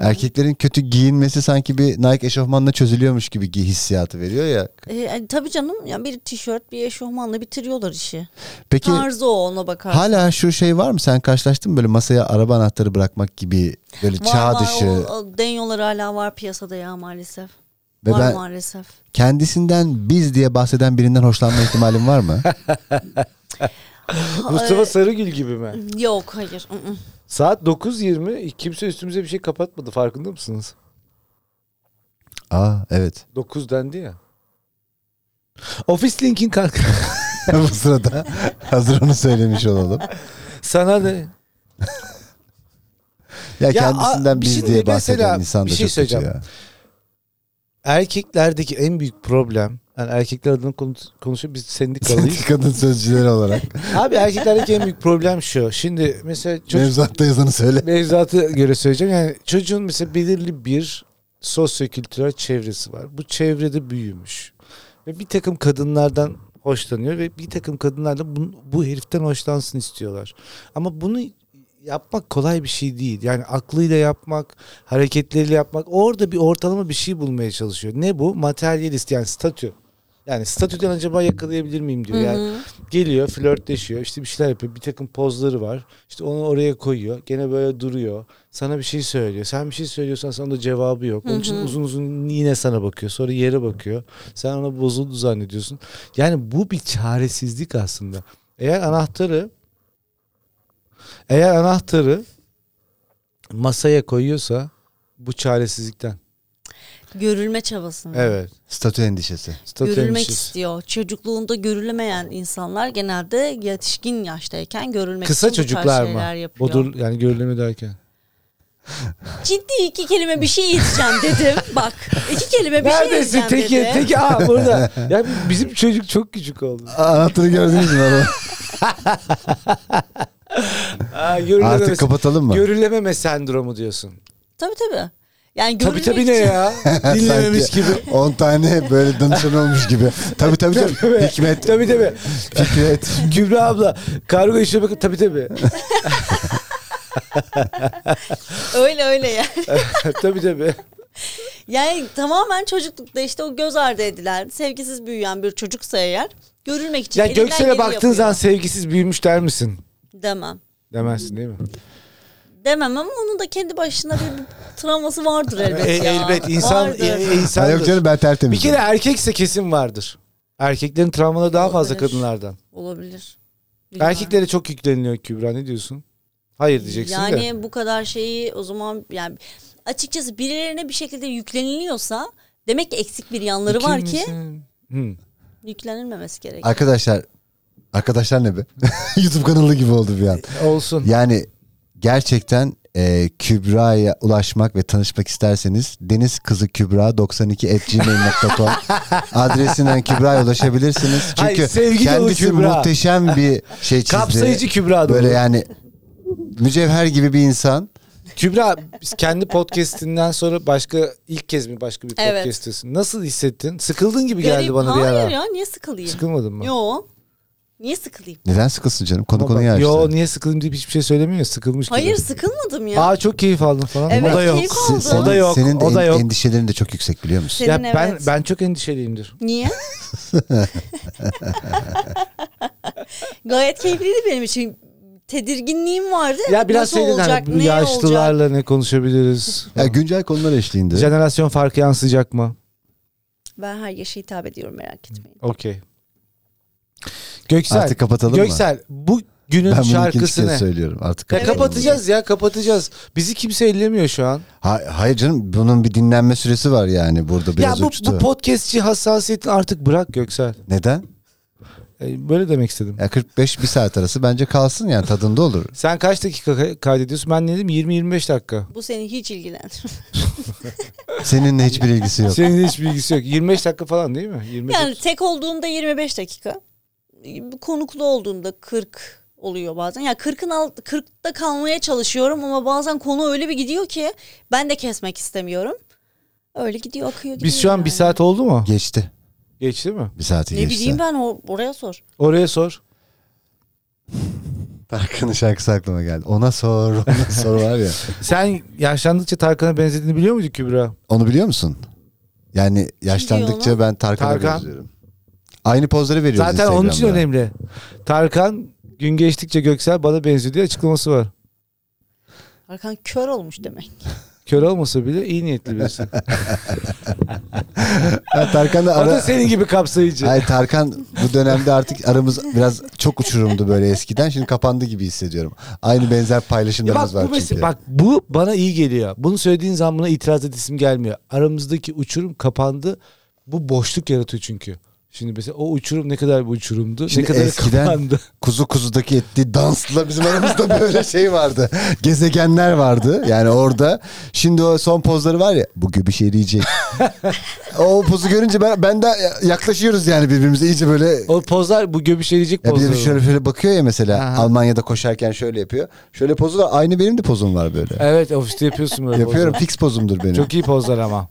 S2: Erkeklerin kötü giyinmesi sanki bir Nike eşofmanla çözülüyormuş gibi gi- hissiyatı veriyor ya.
S3: E, e, tabii canım ya bir tişört bir eşofmanla bitiriyorlar işi.
S2: Peki
S3: Tarzı o ona bakar.
S2: Hala şu şey var mı? Sen karşılaştın mı böyle masaya araba anahtarı bırakmak gibi böyle
S3: Var,
S2: çağ
S3: var,
S2: dışı
S3: o- o denyolar hala var piyasada ya maalesef.
S2: ve
S3: var
S2: ben
S3: maalesef.
S2: kendisinden biz diye bahseden birinden hoşlanma ihtimalim
S1: <laughs>
S2: var mı?
S1: Mustafa Sarıgül gibi mi?
S3: E, Yok hayır. Mm, ı, ı.
S1: Saat 9.20 kimse üstümüze bir şey kapatmadı farkında mısınız?
S2: Aa evet. <laughs>
S1: 9 dendi ya. Ofis linkin kanka.
S2: Bu sırada hazır onu söylemiş olalım.
S1: Sana ne?
S2: Ya,
S1: Ya,
S2: kendisinden
S1: a- bir
S2: biz
S1: şey-
S2: diye
S1: mesela
S2: bahseden insan da
S1: bir şey
S2: çok kötü
S1: söyleyeceğim.
S2: ya.
S1: Erkeklerdeki en büyük problem yani erkekler adına konu- konuşuyor biz <laughs> sendikalıyız.
S2: Kadın
S1: <laughs>
S2: sözcüleri olarak
S1: Abi erkeklerdeki en büyük problem şu. Şimdi mesela çocuk
S2: mevzuatta yazanı söyle.
S1: mevzuata göre söyleyeceğim. Yani çocuğun mesela belirli bir sosyokültürel çevresi var. Bu çevrede büyümüş. Ve bir takım kadınlardan hoşlanıyor ve bir takım kadınlar da bu, bu heriften hoşlansın istiyorlar. Ama bunu yapmak kolay bir şey değil. Yani aklıyla yapmak, hareketleriyle yapmak. Orada bir ortalama bir şey bulmaya çalışıyor. Ne bu? Materyalist yani statü. Yani statüden acaba yakalayabilir miyim diyor. Yani geliyor flörtleşiyor işte bir şeyler yapıyor bir takım pozları var işte onu oraya koyuyor gene böyle duruyor sana bir şey söylüyor sen bir şey söylüyorsan sana da cevabı yok onun için uzun uzun yine sana bakıyor sonra yere bakıyor sen ona bozuldu zannediyorsun yani bu bir çaresizlik aslında eğer anahtarı eğer anahtarı masaya koyuyorsa bu çaresizlikten
S3: Görülme çabasını.
S1: evet
S2: Statü endişesi.
S1: statü
S3: görülmek
S1: endişesi.
S3: istiyor. Çocukluğunda görülemeyen insanlar genelde yetişkin yaştayken görülmek
S1: kısa
S3: için bu tarz
S1: çocuklar
S3: şeyler
S1: mı
S3: yapıyor.
S1: bodur yani görüleme derken
S3: Ciddi iki kelime bir şey yetişeceğim
S1: <laughs>
S3: dedim. Bak iki kelime bir şey
S1: Neredesin
S3: yetişeceğim
S1: teki? <laughs>
S3: dedi.
S1: Teki aa burada. Ya bizim çocuk çok küçük oldu. <laughs>
S2: Aa, Anahtarı gördünüz mü?
S1: Aa, görüleme,
S2: Artık kapatalım mı?
S1: görülememe sendromu diyorsun.
S3: Tabii tabii. Yani
S1: Tabii
S3: görülmek
S1: tabii ne
S3: için-
S1: ya? Dinlememiş
S2: <laughs> Sanki
S1: gibi.
S2: 10 tane böyle danışan olmuş gibi.
S1: <laughs>
S2: Tabii tabii tabii. Hikmet,
S1: Tabii tabii.
S2: Fikret.
S1: <laughs> Kübra abla kargo işine bakın. Tabii tabii.
S3: <laughs>
S1: <laughs>
S3: Öyle öyle ya.
S1: tabii tabii.
S3: Yani tamamen çocuklukta işte o göz ardı edilen, sevgisiz büyüyen bir çocuksa eğer görülmek için
S1: Ya
S3: elinden
S1: Göksel'e
S3: geleni
S1: baktığın
S3: yapıyor.
S1: zaman sevgisiz büyümüş der misin?
S3: Demem.
S1: Demezsin değil mi?
S3: Demem ama onun da kendi başına bir bir travması vardır elbet
S1: E,
S3: ya.
S1: elbet insan
S3: Vardır.
S1: e, e,
S2: Ha,
S1: insandır.
S2: yok canım ben tertemiz.
S1: bir kere erkekse kesin vardır. Erkeklerin travmaları daha fazla
S3: Olabilir.
S1: kadınlardan.
S3: Olabilir. Bilmem.
S1: Erkeklere çok yükleniliyor Kübra ne diyorsun? Hayır diyeceksin
S3: yani
S1: de.
S3: bu kadar şeyi o zaman yani açıkçası birilerine bir şekilde yükleniliyorsa demek ki eksik bir yanları var ki
S1: Kimsin? Hı.
S3: yüklenilmemesi gerekiyor.
S2: Arkadaşlar, arkadaşlar ne be? <laughs> YouTube kanalı gibi oldu bir an.
S1: Olsun.
S2: Yani gerçekten e, Kübra'ya ulaşmak ve tanışmak isterseniz deniz kızı Kübra 92 gmail.com
S1: <laughs>
S2: adresinden Kübra'ya ulaşabilirsiniz. Çünkü
S1: Hayır, sevgi dolu
S2: kendisi
S1: Kübra.
S2: muhteşem bir şey çizdi.
S1: Kapsayıcı Kübra
S2: Böyle
S1: Böyle
S2: yani mücevher gibi bir insan.
S1: Kübra biz kendi podcastinden sonra başka ilk kez mi başka bir
S3: Evet.
S1: podcast'tesin? Nasıl hissettin? Sıkıldın gibi geldi
S3: Garip.
S1: bana bir
S3: Hayır
S1: ara.
S3: ya niye sıkılayım?
S1: Sıkılmadın mı?
S3: Yo. Niye sıkılayım?
S2: Neden sıkılsın canım? Konu
S1: Ama bak,
S2: konuyu açtı.
S1: Yo niye sıkıldım deyip hiçbir şey söylemiyor. ya, Sıkılmış
S3: Hayır
S1: gibi.
S3: sıkılmadım ya.
S1: Aa çok keyif aldım falan.
S3: Evet,
S1: o da yok.
S3: keyif aldım.
S2: Se- senin-
S1: O da yok,
S2: Senin de
S1: o da
S2: en-
S1: yok.
S2: endişelerin de çok yüksek biliyor musun?
S1: Ya
S3: Senin
S1: ben
S3: evet.
S1: ben çok endişeliyimdir. <laughs>
S3: Niye? Gayet keyifliydi benim için. Tedirginliğim vardı.
S1: Ya biraz
S3: Nasıl
S1: şeyden
S3: olacak,
S1: hani
S3: ne olacak?
S1: yaşlılarla ne konuşabiliriz?
S2: Ya güncel konular eşliğinde.
S1: Jenerasyon farkı yansıyacak mı?
S3: Ben her yaşa hitap ediyorum merak etmeyin.
S1: Okey. Göksel.
S2: Artık kapatalım mı?
S1: Göksel bu günün
S2: Ben bunu ikinci
S1: şarkısı
S2: kez
S1: ne?
S2: söylüyorum. Artık
S1: Ya
S2: kapatalım.
S1: kapatacağız ya kapatacağız. Bizi kimse ellemiyor şu an.
S2: Ha- hayır canım bunun bir dinlenme süresi var yani burada biraz
S1: ya bu,
S2: uçtu.
S1: bu podcastçi hassasiyetini artık bırak Göksel.
S2: Neden?
S1: E, Böyle demek istedim.
S2: Ya 45 bir saat arası bence kalsın yani
S1: <laughs>
S2: tadında olur.
S1: Sen kaç dakika ka- kaydediyorsun? Ben ne dedim 20-25 dakika.
S3: Bu seni hiç ilgilendirmez.
S2: Seninle hiçbir ilgisi yok.
S1: Senin hiç bilgisi yok. 25 dakika falan değil mi? 25
S3: Yani tek olduğumda 25 dakika. Konuklu olduğumda 40 oluyor bazen. Ya 40'ın alt 40'ta kalmaya çalışıyorum ama bazen konu öyle bir gidiyor ki ben de kesmek istemiyorum. Öyle gidiyor akıyor gidiyor.
S1: Biz şu an
S3: yani.
S1: bir saat oldu mu?
S2: Geçti.
S1: Geçti mi?
S2: Bir saati
S3: ne
S2: geçti.
S3: bileyim ben or- oraya sor.
S1: Oraya sor.
S2: Tarkan'ın şarkısı aklıma geldi. Ona sor,
S1: <laughs>
S2: ona sor var ya.
S1: Sen yaşlandıkça Tarkan'a benzediğini biliyor muydun Kübra?
S2: Onu biliyor musun? Yani yaşlandıkça
S3: ona?
S2: ben Tarkan'a
S1: Tarkan.
S2: benziyorum. Aynı pozları veriyoruz
S1: Zaten onun için
S2: Instagram'da.
S1: önemli. Tarkan gün geçtikçe Göksel bana benziyor diye açıklaması var.
S3: Arkan kör olmuş demek.
S1: Kör olmasa bile iyi niyetli
S2: <laughs>
S1: birisi.
S2: Ha, Tarkan da
S1: o da
S2: ara...
S1: senin gibi kapsayıcı.
S2: Hayır Tarkan <laughs> bu dönemde artık aramız biraz çok uçurumdu böyle eskiden. Şimdi kapandı gibi hissediyorum. Aynı benzer
S1: Ya
S2: paylaşımlarımız
S1: bak, bu
S2: var
S1: mesela-
S2: çünkü.
S1: bak bu bana iyi geliyor. Bunu söylediğin zaman buna itiraz edesim gelmiyor. Aramızdaki uçurum kapandı. Bu boşluk yaratıyor çünkü. Şimdi mesela o uçurum ne kadar bir uçurumdu?
S2: Şimdi
S1: ne kadar
S2: eskiden
S1: kapandı? <laughs>
S2: kuzu kuzudaki ettiği dansla bizim aramızda böyle <laughs> şey vardı. Gezegenler vardı yani orada. Şimdi o son pozları var ya bu gibi
S1: <laughs>
S2: şey diyecek. o pozu görünce ben, ben de yaklaşıyoruz yani birbirimize iyice böyle.
S1: O pozlar bu göbüşeleyecek
S2: Ya bir de
S1: pozlar.
S2: şöyle şöyle bakıyor ya mesela
S1: Aha.
S2: Almanya'da koşarken şöyle yapıyor. Şöyle pozu var aynı benim de pozum var böyle.
S1: Evet ofiste yapıyorsun böyle pozlar.
S2: Yapıyorum fix pozumdur benim.
S1: Çok iyi pozlar ama.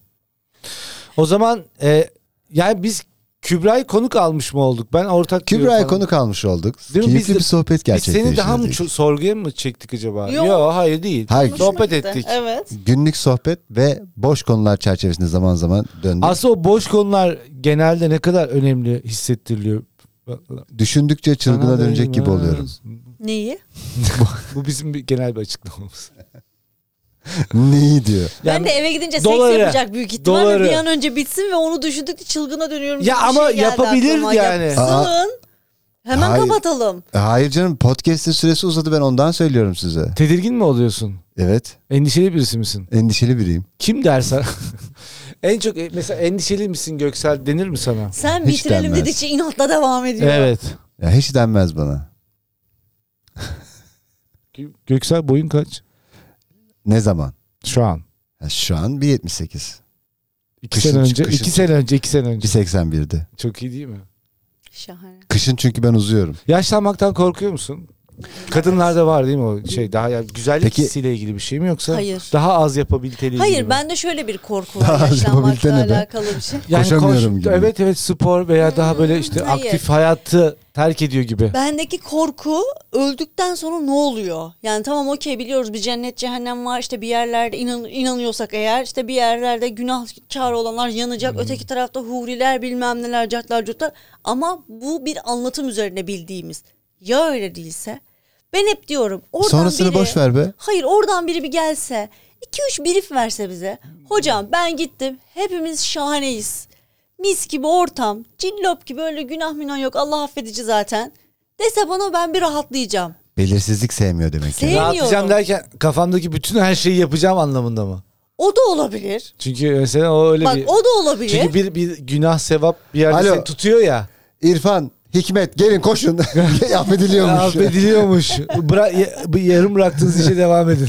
S1: O zaman e, yani biz Kübra'yı konuk almış mı olduk? Ben ortak bir
S2: Kübra'ya
S1: yol falan-
S2: konuk almış olduk.
S1: Değil mi? Biz
S2: Keyifli
S1: de-
S2: bir sohbet
S1: Biz
S2: gerçekleştirdik.
S1: seni daha mı ço- sorguya mı çektik acaba?
S3: Yok.
S1: Yok hayır değil.
S2: Hayır.
S1: Sohbet
S3: Hoşuma gitti.
S1: ettik.
S3: Evet.
S2: Günlük sohbet ve boş konular çerçevesinde zaman zaman döndük.
S1: Aslında o boş konular genelde ne kadar önemli hissettiriliyor.
S2: Düşündükçe çılgına dönecek gibi oluyorum. <laughs>
S3: Neyi?
S1: <laughs> Bu bizim bir genel bir açıklamamız.
S2: Neyi diyor?
S3: ben de eve gidince
S1: doları,
S3: seks yapacak büyük ihtimalle
S1: doları.
S3: bir an önce bitsin ve onu düşündükçe çılgına dönüyorum.
S1: Ya
S3: gibi bir
S1: ama
S3: şey geldi
S1: yapabilir
S3: aklıma.
S1: yani.
S3: Yapsın. Hemen
S2: Hayır.
S3: kapatalım.
S2: E, Hayır canım podcast'in süresi uzadı ben ondan söylüyorum size.
S1: Tedirgin mi oluyorsun?
S2: Evet.
S1: Endişeli birisi misin?
S2: Endişeli biriyim.
S1: Kim der sana? <laughs> en çok e, mesela endişeli misin Göksel denir mi sana?
S3: Sen
S2: Hiç
S3: bitirelim
S2: denmez.
S3: dedikçe inatla devam ediyor.
S1: Evet.
S2: Ya hiç denmez bana.
S1: Göksel boyun kaç?
S2: Ne zaman?
S1: Şu an.
S2: Ya şu an 1.78.
S1: İki
S2: Kışın
S1: sene
S2: çık-
S1: önce,
S2: kışın
S1: iki
S2: çık.
S1: sene önce, iki sene önce.
S2: 1.81'di.
S1: Çok iyi değil mi?
S3: Şahane.
S2: Kışın çünkü ben uzuyorum.
S1: Yaşlanmaktan korkuyor musun? Kadınlarda var değil mi o şey daha ya güzellik
S2: Peki-
S1: hissiyle ilgili bir şey mi yoksa
S3: Hayır.
S1: daha az yapabiliteliği ilgili
S3: Hayır
S1: mi?
S3: bende şöyle bir korku
S2: Daha
S3: var
S2: az
S3: yaşlanmakla
S2: yapabilsene be.
S3: alakalı
S2: <laughs>
S3: bir şey.
S1: Yani
S2: Koşamıyorum gibi.
S1: Evet evet spor veya daha böyle işte
S3: Hmm, hayır.
S1: aktif hayatı terk ediyor gibi.
S3: Bendeki korku öldükten sonra ne oluyor? Yani tamam okey biliyoruz bir cennet cehennem var işte bir yerlerde inan, inanıyorsak eğer işte bir yerlerde günahkar olanlar
S2: Hmm.
S3: yanacak. Öteki tarafta huriler bilmem neler catlar cutlar. Ama bu bir anlatım üzerine bildiğimiz. Ya öyle değilse? Ben hep diyorum oradan
S2: Sonrasını
S3: biri,
S2: boş ver be.
S3: Hayır oradan biri bir gelse. 2-3 brief verse bize. Hocam ben gittim. Hepimiz şahaneyiz. Mis gibi ortam. Cillop gibi öyle günah minan yok. Allah affedici zaten. Dese bana ben bir rahatlayacağım.
S2: Belirsizlik sevmiyor demek ki.
S3: Se- Sevmiyorum.
S1: Rahatlayacağım derken kafamdaki bütün her şeyi yapacağım anlamında mı?
S3: O da olabilir.
S1: Çünkü mesela o öyle
S3: Bak
S1: bir...
S3: o da olabilir.
S1: Çünkü bir, bir günah sevap bir yerde
S2: Alo.
S1: seni tutuyor ya.
S2: İrfan, Hikmet
S1: <laughs>
S2: gelin koşun. Affediliyormuş.
S1: Affediliyormuş. Bıra- ya- bu yarım bıraktığınız işe devam
S2: <laughs>
S1: edin.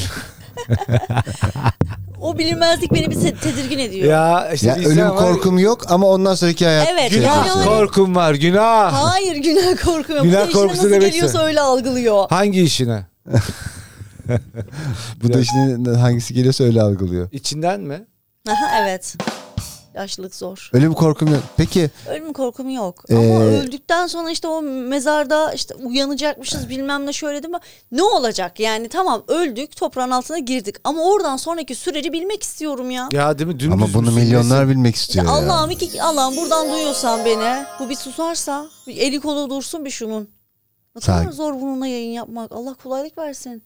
S3: O bilinmezlik beni bir se- tedirgin ediyor.
S1: ya işte
S2: ya
S1: bir insan
S2: ölüm
S1: var-
S2: korkum yok ama ondan sonraki hayat.
S3: Evet,
S2: şey
S3: günah
S2: yapıyorsun.
S1: Günah korkum var günah.
S3: Hayır günah korkum yok.
S1: Günah
S3: Bu da işine
S1: korkusu
S3: nasıl
S1: demekse.
S3: geliyorsa öyle algılıyor.
S1: Hangi işine?
S2: <laughs> Bu da işin hangisi geliyorsa öyle algılıyor.
S1: İçinden mi?
S3: Aha, evet. Yaşlılık zor.
S2: Ölüm korkum yok. Peki
S3: Ölüm korkum yok.
S2: Ee,
S3: Ama öldükten sonra işte o mezarda işte uyanacakmışız bilmem ne şöyle değil mi? Ne olacak yani tamam öldük toprağın altına girdik ama oradan sonraki süreci bilmek istiyorum ya.
S1: Ya değil mi? Dümdüz
S2: ama bunu
S1: müsün
S2: milyonlar
S1: desin.
S2: bilmek istiyor ya.
S3: Allah'ım iki Allah'ım buradan duyuyorsan beni bu bir susarsa bir eli kolu dursun bir şunun. Ne kadar
S2: Sakin.
S3: zor bununla yayın yapmak. Allah kolaylık versin.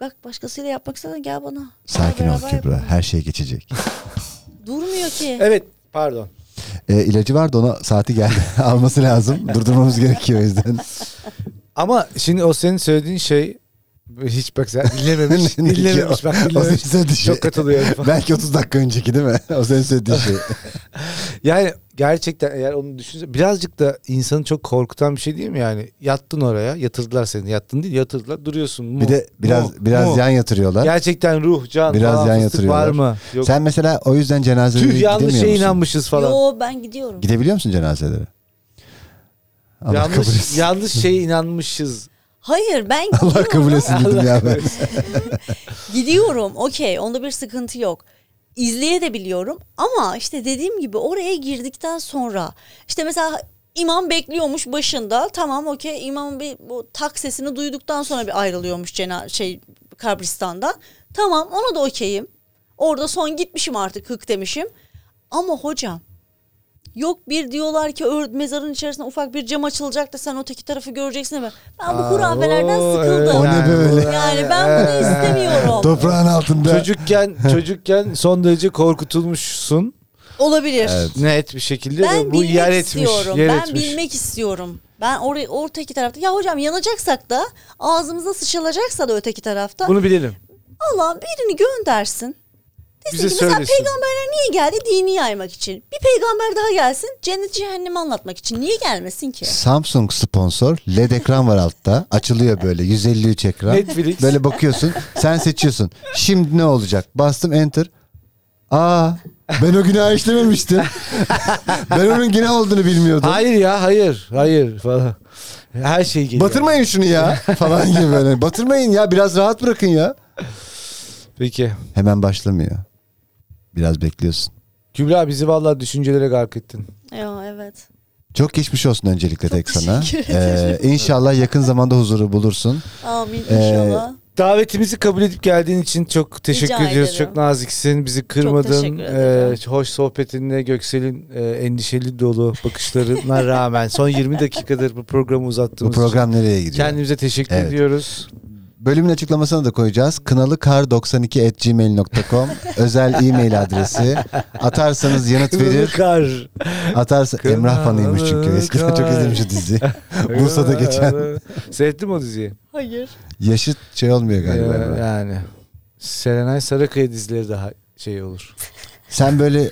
S3: Bak başkasıyla yapmak istesen gel bana. Gel
S2: Sakin ol
S3: beraber
S2: Kübra.
S3: yapalım.
S2: Her şey geçecek.
S3: Durmuyor ki.
S1: Evet pardon.
S2: E, ilacı vardı ona saati geldi. <laughs> Alması lazım. Durdurmamız gerekiyor o
S1: <laughs>
S2: yüzden.
S1: Ama şimdi o senin söylediğin şey hiç bak
S2: <laughs>
S1: sen dinlememiş.
S2: Ne- ne-
S1: dinlememiş bak
S2: o senin
S1: dinlememiş.
S2: söylediği şey.
S1: Çok katılıyorum.
S2: <laughs> Belki 30 dakika önceki değil mi? <laughs> O senin söylediğin
S1: <laughs>
S2: şey.
S1: Yani gerçekten eğer onu düşünse birazcık da insanı çok korkutan bir şey değil mi yani? Yattın oraya yatırdılar seni yattın değil yatırdılar duruyorsun. Mu,
S2: Bir de biraz
S1: mu,
S2: biraz
S1: mu.
S2: yan yatırıyorlar.
S1: Gerçekten ruh, can
S2: Biraz
S1: falan
S2: yan
S1: fıstık
S2: yatırıyorlar.
S1: var mı? Yok.
S2: Sen mesela o yüzden cenazeye
S1: Tüh
S2: gidemiyor
S1: yanlış
S2: musun?
S1: şeye inanmışız falan.
S3: Yo ben gidiyorum.
S2: Gidebiliyor musun cenazelere? Allah kabul
S1: yanlış,
S2: etsin.
S1: yanlış şeye inanmışız.
S3: Hayır ben
S2: <laughs> Allah
S3: gidiyorum.
S2: kabul etsin dedim ya ben.
S3: Gidiyorum okey onda bir sıkıntı yok. İzleyebiliyorum ama işte dediğim gibi oraya girdikten sonra işte mesela imam bekliyormuş başında tamam okey imam bir bu tak sesini duyduktan sonra bir ayrılıyormuş cena şey kabristandan. Tamam ona da okeyim. Orada son gitmişim artık hık demişim. Ama hocam yok bir diyorlar ki ö- mezarın içerisinde ufak bir cam açılacak da sen öteki tarafı göreceksin. Ben bu hurafelerden
S1: Oo,
S3: sıkıldım.
S2: O ne böyle?
S3: Yani ben bunu istemiyorum.
S2: Toprağın altında. <laughs>
S1: Çocukken çocukken son derece korkutulmuşsun.
S3: Olabilir.
S1: Net bir şekilde
S3: Ben
S1: ve bu
S3: bilmek
S1: yer etmiş.
S3: istiyorum.
S1: Yer
S3: ben
S1: etmiş.
S3: bilmek istiyorum. Ben oraya ortaki tarafta ya hocam yanacaksak da ağzımıza sıçılacaksa da öteki tarafta
S1: Bunu bilelim.
S3: Allah birini göndersin. Desin
S1: Bize
S3: ki mesela
S1: söylesin.
S3: peygamberler niye geldi? Dini yaymak için. Bir peygamber daha gelsin. Cennet cehennemi anlatmak için. Niye gelmesin ki?
S2: Samsung sponsor. LED ekran var altta. Açılıyor böyle 153 ekran.
S1: Netflix.
S2: Böyle bakıyorsun. Sen seçiyorsun. Şimdi ne olacak? Bastım enter. Aa ben o günahı işlememiştim. <laughs> ben onun günah olduğunu bilmiyordum.
S1: Hayır ya hayır hayır falan. Her şey geliyor.
S2: Batırmayın şunu ya falan gibi böyle. Batırmayın ya biraz rahat bırakın ya.
S1: Peki.
S2: Hemen başlamıyor. Biraz bekliyorsun.
S1: Kübra bizi vallahi düşüncelere gark ettin.
S3: Ya evet.
S2: Çok geçmiş olsun öncelikle tek sana. Ee,
S3: teşekkür
S2: inşallah yakın zamanda huzuru bulursun.
S3: Amin
S1: Ee,
S3: inşallah.
S1: Davetimizi kabul edip geldiğin için çok teşekkür
S3: Rica
S1: ediyoruz.
S3: ederim.
S1: Çok naziksin. Bizi kırmadın.
S3: teşekkür ederim.
S1: Ee, hoş sohbetinle Göksel'in e, endişeli dolu bakışlarına rağmen son
S3: <laughs>
S1: 20 dakikadır bu programı
S2: Bu
S1: uzattığımız
S2: program nereye
S1: için
S2: gidiyor?
S1: kendimize teşekkür
S2: Evet.
S1: ediyoruz.
S2: Bölümün açıklamasına da koyacağız. Kınalı kar 92 gmail.com
S1: <laughs>
S2: özel e-mail adresi. Atarsanız yanıt verir.
S1: Kar.
S2: Atarsa
S1: Kınalı
S2: Emrah fanıymış çünkü. Eskiden çok
S1: kar.
S2: izlemiş o diziyi. Bursa'da geçen.
S1: <laughs> Seyrettin mi o diziyi?
S3: Hayır.
S2: Yaşı şey olmuyor galiba.
S1: Ee,
S2: Emrah.
S1: yani. Serenay Sarıkaya dizileri daha şey olur.
S2: Sen böyle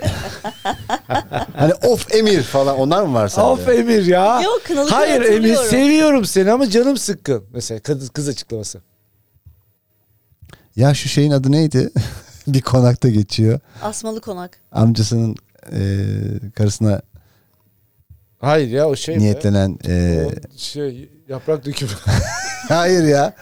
S2: hani of Emir falan onlar mı var sende?
S1: Of Emir ya.
S3: Yok kınalı
S1: Ah, Hayır
S3: kınalı
S1: Emir
S3: hatırlıyorum.
S1: seviyorum seni ama canım sıkkın. Mesela kız, kız açıklaması.
S2: Ya şu şeyin adı neydi? <laughs> bir konakta geçiyor.
S3: Asmalı konak.
S2: Amcasının e, karısına
S1: Hayır ya o şey be.
S2: niyetlenen e,
S1: O şey yaprak dökümü. <laughs>
S2: hayır ya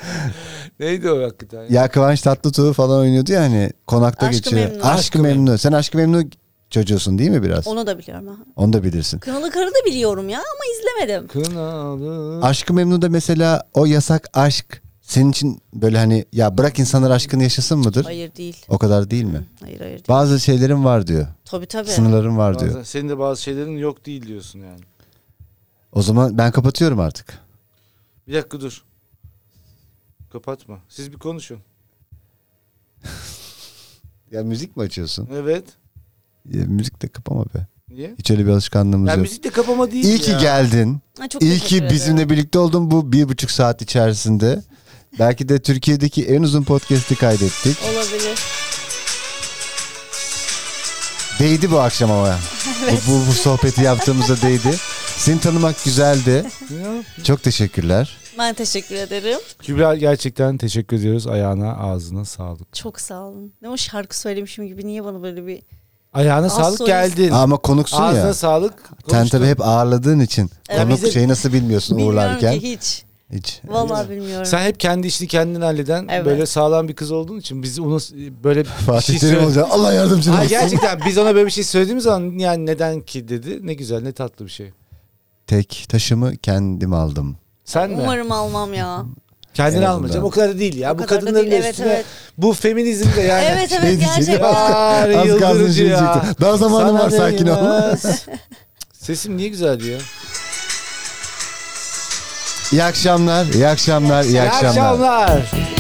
S1: Neydi o hakikaten? ya?
S2: ya Kıvanç Tatlıtuğ falan oynuyordu ya hani konakta
S3: Aşkı
S2: geçiyor.
S3: Memnu.
S2: Aşkı Memnu. Sen Aşkı Memnu çocuğusun değil mi biraz? Onu,
S3: Onu da biliyorum. ha.
S2: da bilirsin.
S3: Kınalı Karı da biliyorum ya ama izlemedim.
S1: Kınalı.
S2: Aşkı Memnu'da mesela o yasak aşk senin için böyle hani ya bırak insanlar aşkını yaşasın mıdır?
S3: Hayır değil.
S2: O kadar değil mi?
S3: Hayır hayır değil.
S2: Bazı şeylerin var diyor.
S3: Tabii tabii.
S2: Sınırların var diyor.
S1: Bazen Senin de bazı şeylerin yok değil diyorsun yani.
S2: O zaman ben kapatıyorum artık.
S1: Bir dakika dur. Kapatma. Siz bir konuşun.
S2: Ya müzik mi açıyorsun?
S1: Evet.
S2: Ya, müzik de kapama be.
S1: Niye?
S2: Hiç öyle bir alışkanlığımız
S1: Ya
S2: yok.
S1: müzik de kapama değil
S2: İyi ki
S1: ya.
S2: geldin.
S3: Ha, çok
S2: İyi
S3: teşekkür
S2: ki
S3: ederim.
S2: bizimle birlikte oldun bu bir buçuk saat içerisinde. Belki de Türkiye'deki en uzun podcast'i kaydettik.
S3: Olabilir.
S2: Değdi bu akşam
S3: <laughs>
S2: ama. Bu, bu, bu sohbeti yaptığımıza değdi. Seni tanımak güzeldi.
S1: Ya.
S2: Çok teşekkürler.
S3: Ben teşekkür ederim.
S1: Kübra gerçekten teşekkür ediyoruz. Ayağına ağzına sağlık.
S3: Çok sağ olun. Ne o şarkı söylemişim gibi niye bana böyle bir...
S1: Ayağına
S3: Az
S1: sağlık
S3: solist.
S1: geldin.
S2: Ama konuksun
S1: Ağzına
S2: ya.
S1: sağlık.
S2: Sen
S1: Konuştun.
S2: tabii hep ağırladığın için
S3: Evet.
S2: konuk
S1: Bize-
S2: şeyi nasıl bilmiyorsun
S3: Bilmiyorum
S2: uğurlarken.
S3: ki hiç.
S2: Hiç.
S3: Vallahi bilmiyorum.
S1: Sen hep kendi işini kendin halleden
S3: Evet.
S1: böyle sağlam bir kız olduğun için biz onu böyle bir şey
S2: <laughs> Fatih Terim
S1: söyle-
S2: olacak. Allah yardımcın
S1: Hayır,
S2: olsun.
S1: gerçekten biz ona böyle bir şey söylediğimiz zaman yani neden ki dedi. Ne güzel ne tatlı bir şey.
S2: Tek taşımı kendim aldım.
S1: Sen mi?
S3: Umarım almam ya.
S2: En
S1: Kendini
S2: azından.
S1: almayacağım. O kadar da değil ya.
S3: O
S1: bu
S3: kadar da
S1: kadınların
S3: değil, evet,
S1: üstüne
S3: evet.
S1: bu feminizm de yani.
S3: Evet
S2: Ne
S3: evet
S2: diyecektim?
S3: gerçekten.
S1: Var
S2: Az kalsın
S1: yıldırıcı
S2: şey
S1: ya.
S2: diyecektim. Daha zamanım
S1: Sana
S2: var sakin ol. <laughs>
S1: değmez. Sesim niye güzel diyor?
S2: İyi akşamlar, iyi akşamlar, iyi akşamlar.
S1: akşamlar.